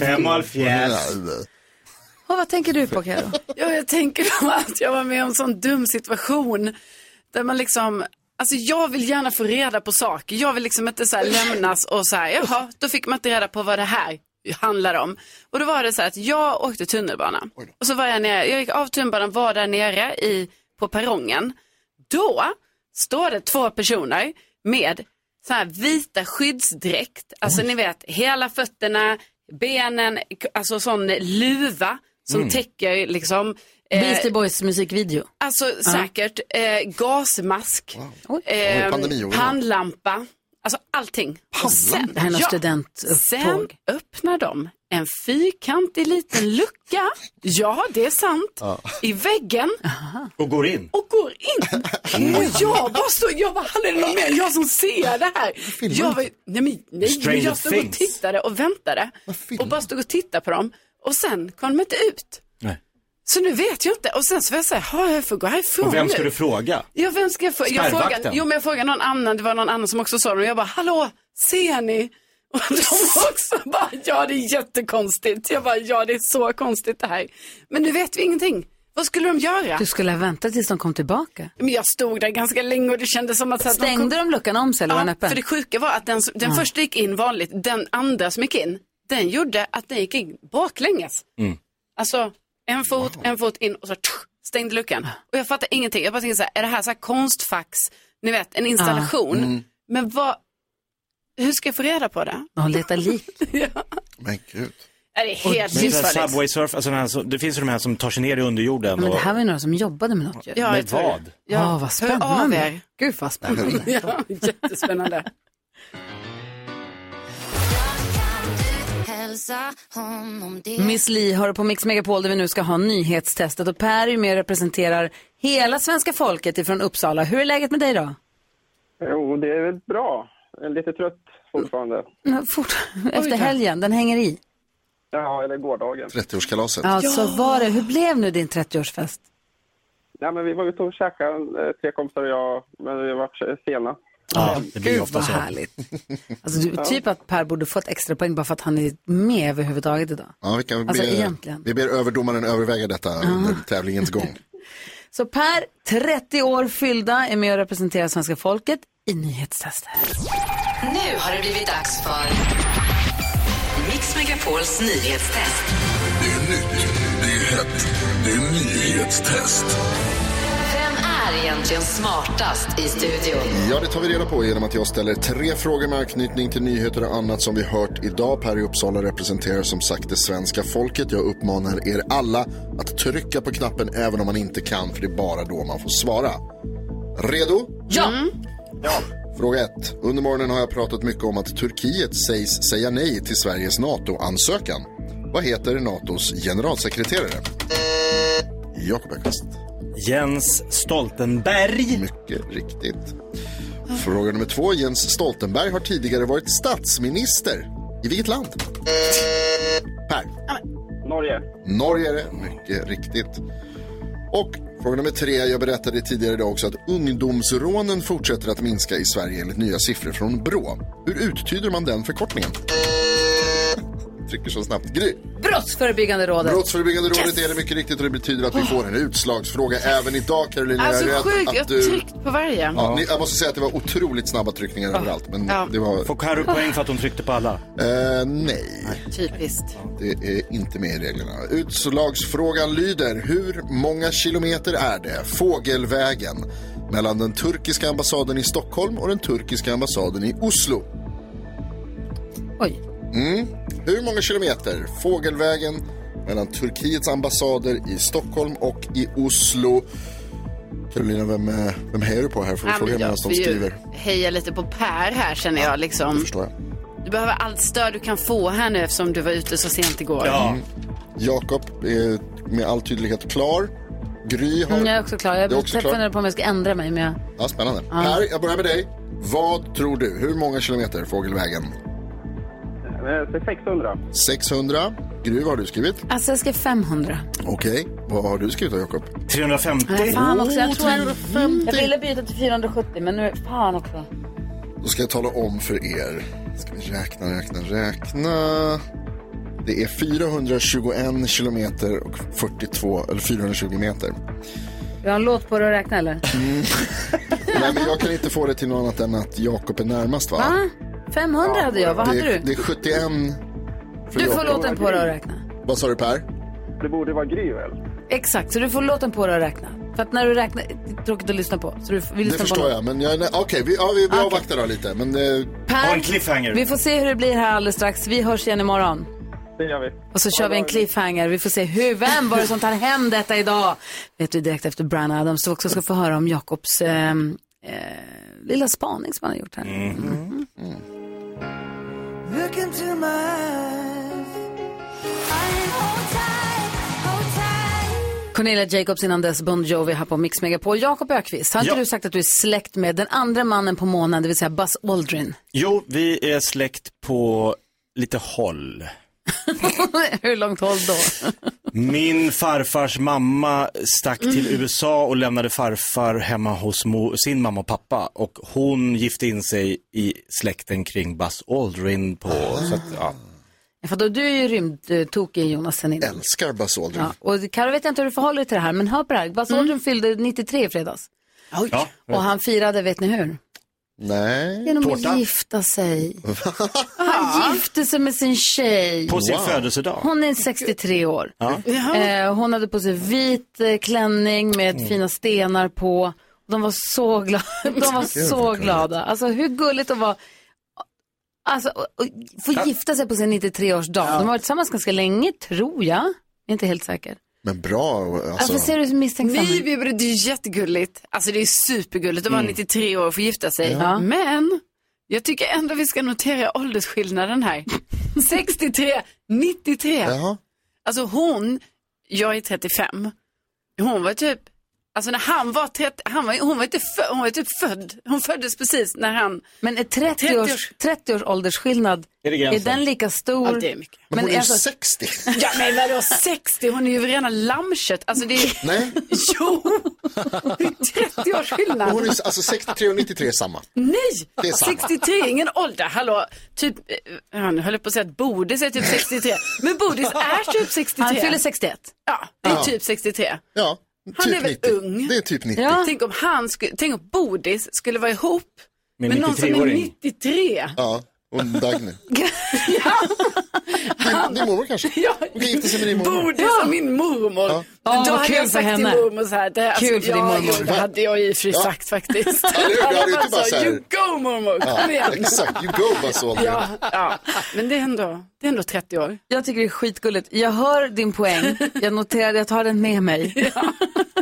S2: Fem och fjärs.
S1: Och vad tänker du på, Karo?
S5: Ja, jag tänker på att jag var med om en sån dum situation där man liksom, alltså jag vill gärna få reda på saker. Jag vill liksom inte så här lämnas och så här, jaha, då fick man inte reda på vad det här handlar om. Och då var det så här att jag åkte tunnelbana och så var jag nere, jag gick av tunnelbanan, var där nere i, på perrongen. Då står det två personer med så här vita skyddsdräkt, alltså ni vet hela fötterna, benen, alltså sån luva som
S1: Mm.
S5: täcker liksom. eh,
S1: Beastie Boys musikvideo.
S5: Alltså
S1: Ja.
S5: säkert eh, gasmask, eh,
S1: Oj, pandemiåren.
S5: handlampa, alltså allting. Och sen,
S1: Det här är något studentupptåg.
S5: sen öppnar de en fyrkantig liten lucka, ja det är sant, i väggen
S2: Och går in. Mm.
S5: och går in. Och jag bara står, jag bara, han är det någon mer än jag som ser det här? Jag var, nej men, nej, men
S2: Stranger
S5: jag stod och
S2: Things.
S5: tittade och väntade och bara stod och tittade på dem och sen kom de inte ut.
S2: Nej.
S5: Så nu vet jag inte och sen så var jag så här, "Ha, jag får gå härifrån
S2: Och vem ska
S5: nu."
S2: du fråga?
S5: Ja, vem ska jag fråga? Jag
S2: Spärrvakten.
S5: frågade, jo, men jag frågade någon annan, det var någon annan som också sa det och jag bara, hallå, ser ni? Och de också bara, ja det är jättekonstigt. Jag bara, ja det är så konstigt det här. Men nu vet vi ingenting. Vad skulle de göra?
S1: Du skulle ha väntat tills de kom tillbaka.
S5: Men jag stod där ganska länge och det kändes som att... så att
S1: Stängde de luckan om sig eller var den
S5: Ja,
S1: öppen?
S5: för det sjuka var att den, som- den
S1: Ja.
S5: första gick in vanligt, den andra som gick in, den gjorde att den gick in baklänges.
S2: Mm.
S5: Alltså en fot, en fot in och så tsch, stängde luckan. Och jag fattade ingenting. Jag bara tänkte så här, är det här så här konstfax, ni vet, en installation?
S3: Ja. Mm.
S5: Men vad, hur ska jag få reda på det?
S1: De letar lik.
S3: Men gud.
S5: Är det
S2: Men
S5: helt liksom.
S2: det är så här
S5: livsfarligt?
S2: Subway surf, alltså den här, som- det finns ju de här som tar sig ner i
S1: Ja,
S2: underjorden.
S1: men det
S2: och,
S1: här var ju några som jobbade med något ju.
S2: Ja, Med jag tror det. vad?
S1: Ja,
S2: Ja,
S1: vad
S5: hör av
S1: spännande.
S5: er.
S1: Gud vad spännande.
S5: Ja, jättespännande.
S1: Miss Li hör på Mix Megapol där vi nu ska ha nyhetstestet och Per är ju med och representerar hela svenska folket ifrån Uppsala. Hur är läget med dig då?
S24: Jo, det är väl bra. Jag är lite trött fortfarande.
S5: Mm,
S1: Ja, Fort, efter helgen, den hänger i.
S24: Ja, eller gårdagen.
S3: 30-årskalaset.
S1: Alltså var det, hur blev nu din 30-årsfest?
S24: Nej, men vi var ute och käkade, eh, tre kompisar och jag, men vi var sena.
S2: Ja, det blir
S1: Gud,
S2: ju ofta
S1: vad
S2: så.
S1: härligt. Alltså du,
S24: Ja.
S1: typ att Per borde fått extra poäng bara för att han är med överhuvudtaget idag.
S3: Ja, vi, kan,
S1: Alltså,
S3: vi,
S1: egentligen. Ah.
S3: vi ber överdomaren överväga detta under tävlingens gång.
S1: Så Per, 30 år fyllda, är med och representerar svenska folket i nyhetstestet.
S6: Nu har det blivit dags för Mix Megapols nyhetstest.
S19: Det är nytt, det är hett, det är nyhetstest.
S6: Vem är egentligen smartast i studion?
S3: Ja, det tar vi reda på genom att jag ställer tre frågor med anknytning till nyheter och annat som vi hört idag. Per i Uppsala representerar som sagt det svenska folket. Jag uppmanar er alla att trycka på knappen även om man inte kan, för det är bara då man får svara. Redo?
S1: Ja!
S5: Mm.
S3: Fråga 1. Under morgonen har jag pratat mycket om att Turkiet sägs säga nej till Sveriges NATO-ansökan. Vad heter NATOs generalsekreterare? Jakob Öqvist.
S2: Jens Stoltenberg.
S3: Mycket riktigt. Fråga nummer två. Jens Stoltenberg har tidigare varit statsminister. I vilket land? Per.
S24: Norge.
S3: Norge är det, mycket riktigt. Och fråga nummer tre. Jag berättade tidigare idag också att ungdomsrånen fortsätter att minska i Sverige enligt nya siffror från Brå. Hur uttyder man den förkortningen? Trycker så snabbt. Gry.
S1: Brottsförebyggande rådet.
S3: Brottsförebyggande rådet är det mycket riktigt och det betyder att vi får en utslagsfråga även idag Carolina.
S5: Alltså
S3: Jag är rädd
S5: sjukt,
S3: att
S5: jag
S3: du-
S5: tryckt på varje.
S3: Ja, ni, jag måste säga att det var otroligt snabba tryckningar överallt. Men
S5: Ja.
S3: det var...
S2: Får Carro poäng för att hon tryckte på alla?
S3: Eh, nej,
S1: Typiskt.
S3: det är inte med i reglerna. Utslagsfrågan lyder, hur många kilometer är det, fågelvägen, mellan den turkiska ambassaden i Stockholm och den turkiska ambassaden i Oslo?
S1: Oj.
S3: Mm. Hur många kilometer, fågelvägen, mellan Turkiets ambassader i Stockholm och i Oslo? Carolina, vem, eh, vem hejar du på här? Får vi
S5: Ja, men
S3: fråga
S5: jag
S3: medan
S5: får
S3: de
S5: ju
S3: skriver?
S5: Heja lite på Per här känner jag liksom.
S3: Förstår jag.
S5: Du behöver allt stöd du kan få här nu eftersom du var ute så sent igår.
S3: Mm. Jakob är med all tydlighet klar. Gry har...
S1: Mm, jag är också klar.
S3: Du är
S1: Jag
S3: också klar.
S1: funderar på om jag ska ändra mig, men jag...
S3: Ja, spännande. Per, jag börjar med dig. Vad tror du? Hur många kilometer fågelvägen?
S24: Eh, 600.
S3: 600. Gry, vad har du skrivit?
S1: Alltså jag ska 500.
S3: Okej. Vad har du skrivit då, Jakob?
S2: 350.
S1: Nej, fan också. Jag, tror jag,
S3: 350.
S1: jag ville byta till 470, men nu... Fan också.
S3: Då ska jag tala om för er. Ska vi räkna, räkna, räkna. Det är 421 kilometer och 42, eller 420 meter.
S1: Vi har en låt på dig att räkna, eller?
S3: Mm. Nej, men jag kan inte få det till något annat än att Jakob är närmast, va?
S1: Va? 500 hade jag. Vad
S3: det,
S1: hade du?
S3: Det är 71 för
S1: Du får
S3: Jakob.
S1: låten på dig att räkna.
S3: Vad sa du Per?
S24: Det borde vara Gry väl?
S1: Exakt, så du får låten på dig att räkna. För att när du räknar, det är tråkigt att lyssna på. Så du får- vi
S3: Det
S1: lyssnar på
S3: förstår
S1: låten.
S3: jag, men jag, nej, okej, vi, ja, vi, vi
S1: Okej.
S3: avvaktar då lite. Men eh, det...
S1: Per, vi får se hur det blir här alldeles strax. Vi hörs igen imorgon.
S25: det gör vi.
S1: Och så kör vi en cliffhanger. Vi får se hur, vem var det som tar hem detta idag? Vet vi direkt efter Brian Adams. Du också ska få höra om Jakobs eh, eh, lilla spaning som han har gjort här.
S6: Mm.
S3: Mm-hmm.
S26: Look into my eyes.
S1: Cornelia Jacobs innan dess, Bon Jovi här på Mix Megapol. Jakob Ökvist, har inte
S2: Ja.
S1: du sagt att du är släkt med den andra mannen på månaden, det vill säga Buzz Aldrin?
S2: Jo, vi är släkt på lite håll.
S1: Hur långt håll då?
S2: Min farfars mamma stack till USA och lämnade farfar hemma hos mo- sin mamma och pappa. Och hon gifte in sig i släkten kring Buzz Aldrin på,
S3: Ah.
S2: så att, ja.
S1: För då, du är ju rymdtokig Jonas sen innan.
S3: Älskar Buzz Aldrin.
S1: Ja, och Karo vet jag inte hur du förhåller dig till det här, men hör på det här. Buzz Aldrin fyllde 93 i fredags.
S3: Ja.
S1: Och han firade, vet ni hur?
S3: Nej.
S1: Genom att gifta sig. Han gifte sig med sin tjej.
S2: På sin Wow. födelsedag.
S1: Hon är 63 år.
S2: Ja.
S1: Eh, hon hade på sig vit eh, klänning med fina stenar på. De var så glada. De var
S2: Gud,
S1: så
S2: vad gulligt.
S1: glada. Alltså hur gulligt att vara Alltså, och, och, få gifta sig på sin 93-årsdag. De har varit tillsammans ganska länge, tror jag. Jag är inte helt säker.
S3: Men bra. Alltså.
S1: Varför ser du så misstänksam
S5: Nej,
S1: ut?
S5: vi- det är ju jättegulligt. Alltså det är supergulligt att vara 93 år och få gifta sig.
S1: Mm. Ja.
S5: Men jag tycker ändå vi ska notera åldersskillnaden här. 63, 93. Alltså hon, jag är 35. Hon var typ, alltså när han var 30, han var, hon var inte född, hon var typ född. Hon föddes precis när han.
S1: Men är 30 års, 30 års åldersskillnad,
S5: Är det
S1: är,
S5: gränsen?
S1: den lika stor? alltså-
S5: Ja, det är mycket. Men hon är ju
S3: 60.
S5: Ja men vadå 60, hon är ju rena lammkött. Alltså det är...
S3: Nej.
S5: Jo, det är 30 års skillnad.
S3: Hon är, alltså 63 och 93 är samma.
S5: Nej,
S3: Det är samma.
S5: 63 är ingen ålder. Hallå, typ, eh, han höll på att säga att Bodis är typ 63. Men Bodis är typ 63.
S1: Han fyller 61.
S5: Ja, det är
S3: Ja.
S5: typ 63.
S3: Ja,
S5: Han
S3: typ
S5: är väl
S3: 90.
S5: ung?
S3: Det är typ 90.
S5: Tänk om han skulle, tänk om Bodis skulle vara ihop
S3: Med
S5: med, någon som är
S3: 93-åring.
S5: 93.
S3: Ja, och Dagny.
S5: Han,
S3: din mormor kanske?
S5: Ja,
S3: gifte sig med din mormor.
S5: Bodis och min mormor.
S3: Ja.
S5: Men
S1: Ja,
S5: då
S1: vad
S5: hade
S1: kul
S5: jag
S1: för
S5: sagt
S1: henne.
S5: till mormor så här. Det,
S1: Kul för din
S5: ja,
S1: mormor.
S5: jo, Det hade jag i och för sig
S3: Ja.
S5: sagt faktiskt.
S3: Eller hur?
S5: Alla
S3: Det hade
S5: bara
S3: inte bara
S5: sa,
S3: så här-
S5: Alltså, You go mormor,
S3: Ja,
S5: kom igen.
S3: exakt. You go, Buzz Aldrin.
S5: Ja, ja. Men det är, ändå, det är ändå 30 år.
S1: Jag tycker det är skitgulligt. Jag hör din poäng, jag noterar det, jag tar den med mig.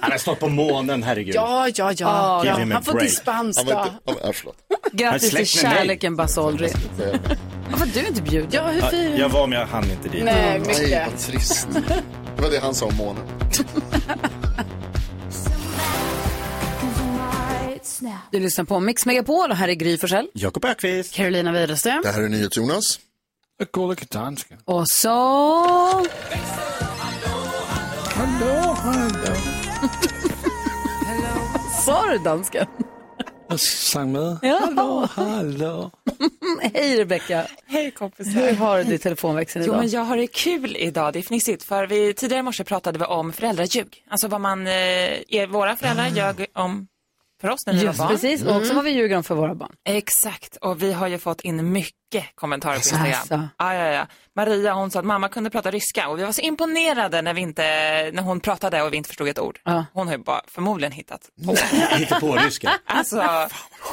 S2: Han har stått på månen, herregud.
S5: Ja, ja, ja.
S1: Ah,
S2: Give
S1: ja.
S2: him a
S1: Han får
S2: break.
S1: dispens
S2: Ja, men-
S1: då.
S3: Ja, men, förlåt.
S2: Han
S1: Grattis till
S2: släkt med mig.
S1: kärleken Buzz Aldrin. Varför du inte bjuden?
S5: Ja,
S2: Ja, Jag var men jag hann inte dit.
S3: Nej,
S1: Nej, mycket.
S3: vad trist. Det var det han sa om månen.
S1: Du lyssnar på Mix Megapol och här är Gry Forssell.
S2: Jakob Ökvist.
S1: Carolina Widerström.
S3: Det här är NyhetsJonas.
S6: Gullige danska.
S1: Och så...
S6: Hallå, hallå.
S1: Sa du dansken?
S6: Jag sang med.
S1: Ja.
S6: Hallå, hallå.
S1: Hej Rebecka.
S23: Hej kompisar.
S1: Hur har du i telefonväxeln
S23: Jo,
S1: idag?
S23: men jag har det kul idag. Det är fnissigt, för vi, tidigare i morse pratade vi om föräldraljug. Alltså vad man, eh, er, våra föräldrar ljög om för oss när vi
S1: Mm. Just
S23: var barn. Mm.
S1: precis, och också vad vi ljuger om för våra barn.
S23: Exakt, och vi har ju fått in mycket kommentarer på
S1: Alltså.
S23: Instagram. Ja, ja, ja. Maria hon sa att mamma kunde prata ryska och vi var så imponerade när, vi inte, när hon pratade och vi inte förstod ett ord. Hon har ju bara förmodligen hittat på.
S2: Hittar på ryska.
S23: Alltså,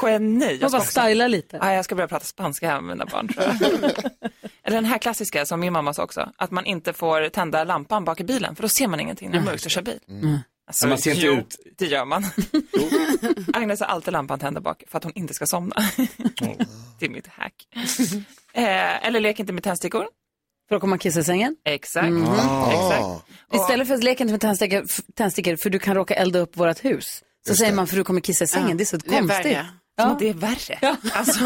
S23: geni.
S1: bara styla lite.
S23: Ja, jag ska börja prata spanska här med mina barn. tror jag. Eller den här klassiska som min mamma sa också, att man inte får tända lampan bak i bilen för då ser man ingenting när det är mörkt och kör bil.
S1: Mm.
S23: Alltså,
S2: Men man ser inte
S23: jo,
S2: ut.
S23: det gör man. Agnes har alltid lampan tänd där bak för att hon inte ska somna. det är mitt hack. eh, eller lek inte med tändstickor.
S1: För att komma och kissa i sängen?
S23: Exakt.
S1: Mhm.
S23: Ah. Exakt.
S1: Istället för att leka inte med tändstickor, f- tändstickor för du kan råka elda upp vårt hus. Så säger man för du kommer kissa i sängen.
S23: Ja.
S1: Det är så
S23: Det är
S1: konstigt.
S23: värre. Som att det är värre. Alltså,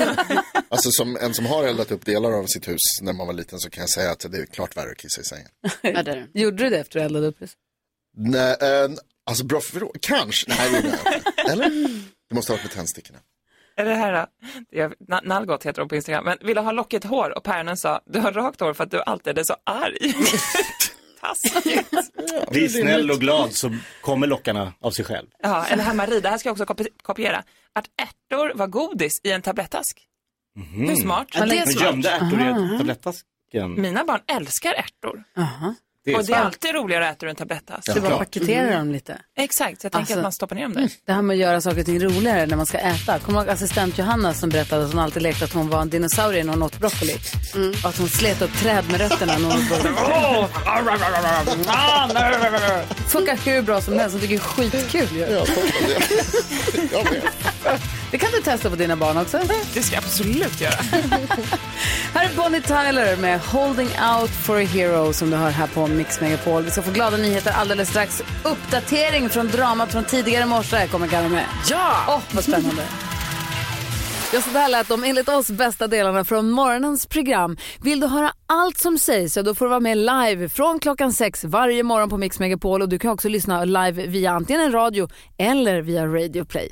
S3: Alltså som en som har eldat upp delar av sitt hus när man var liten så kan jag säga att det är klart värre att kissa i sängen.
S1: Gjorde du det efter du eldade upp huset?
S3: Nej, eh, alltså bra fråga. Kanske. Nej, det gjorde jag inte. Eller? Det måste ha varit med tändstickorna.
S23: Är det här då? Det är- Na- Nalgot heter hon på Instagram. Men ville ha lockigt hår och päronen sa, du har rakt hår för att du alltid är så arg. Taskigt.
S2: Bli snäll och glad så kommer lockarna av sig själv.
S23: Ja, eller här Marie, det här ska jag också kopi- kopiera. Att ärtor var godis i en tablettask.
S2: Mhm.
S23: Hur smart?
S2: Ja, det är smart. Gömde ärtor i Aha. tablettasken.
S23: Mina barn älskar ärtor.
S27: Det är
S23: och det är
S27: sant.
S23: alltid roligare att äta ur en tablettask.
S1: Du bara paketerar
S23: Mm.
S1: dem lite.
S23: Exakt, så jag tänker
S1: Alltså-
S23: att man stoppar ner dem där.
S1: Det här med att göra saker och ting roligare när man ska äta. Kommer du ihåg assistent Johanna som berättade att hon alltid lekte att hon var en dinosaurie när hon åt broccoli? Och att hon slet upp träd med rötterna när hon åt broccoli. Funkar hur bra som helst. Hon tycker det är skitkul ju. Det kan du testa på dina barn också.
S23: Det ska jag absolut göra.
S1: Här är Bonnie Tyler med Holding Out for a Hero som du hör här på Mix Megapol. Vi ska få glada nyheter alldeles strax. Uppdatering från dramat från tidigare i morse kommer Garro med.
S28: Ja!
S1: Åh, vad spännande.
S28: Ja, så där lät de enligt oss bästa delarna från morgonens program. Vill du höra allt som sägs så då får du vara med live från klockan sex varje morgon på Mix Megapol och du kan också lyssna live via antingen en radio eller via Radio Play.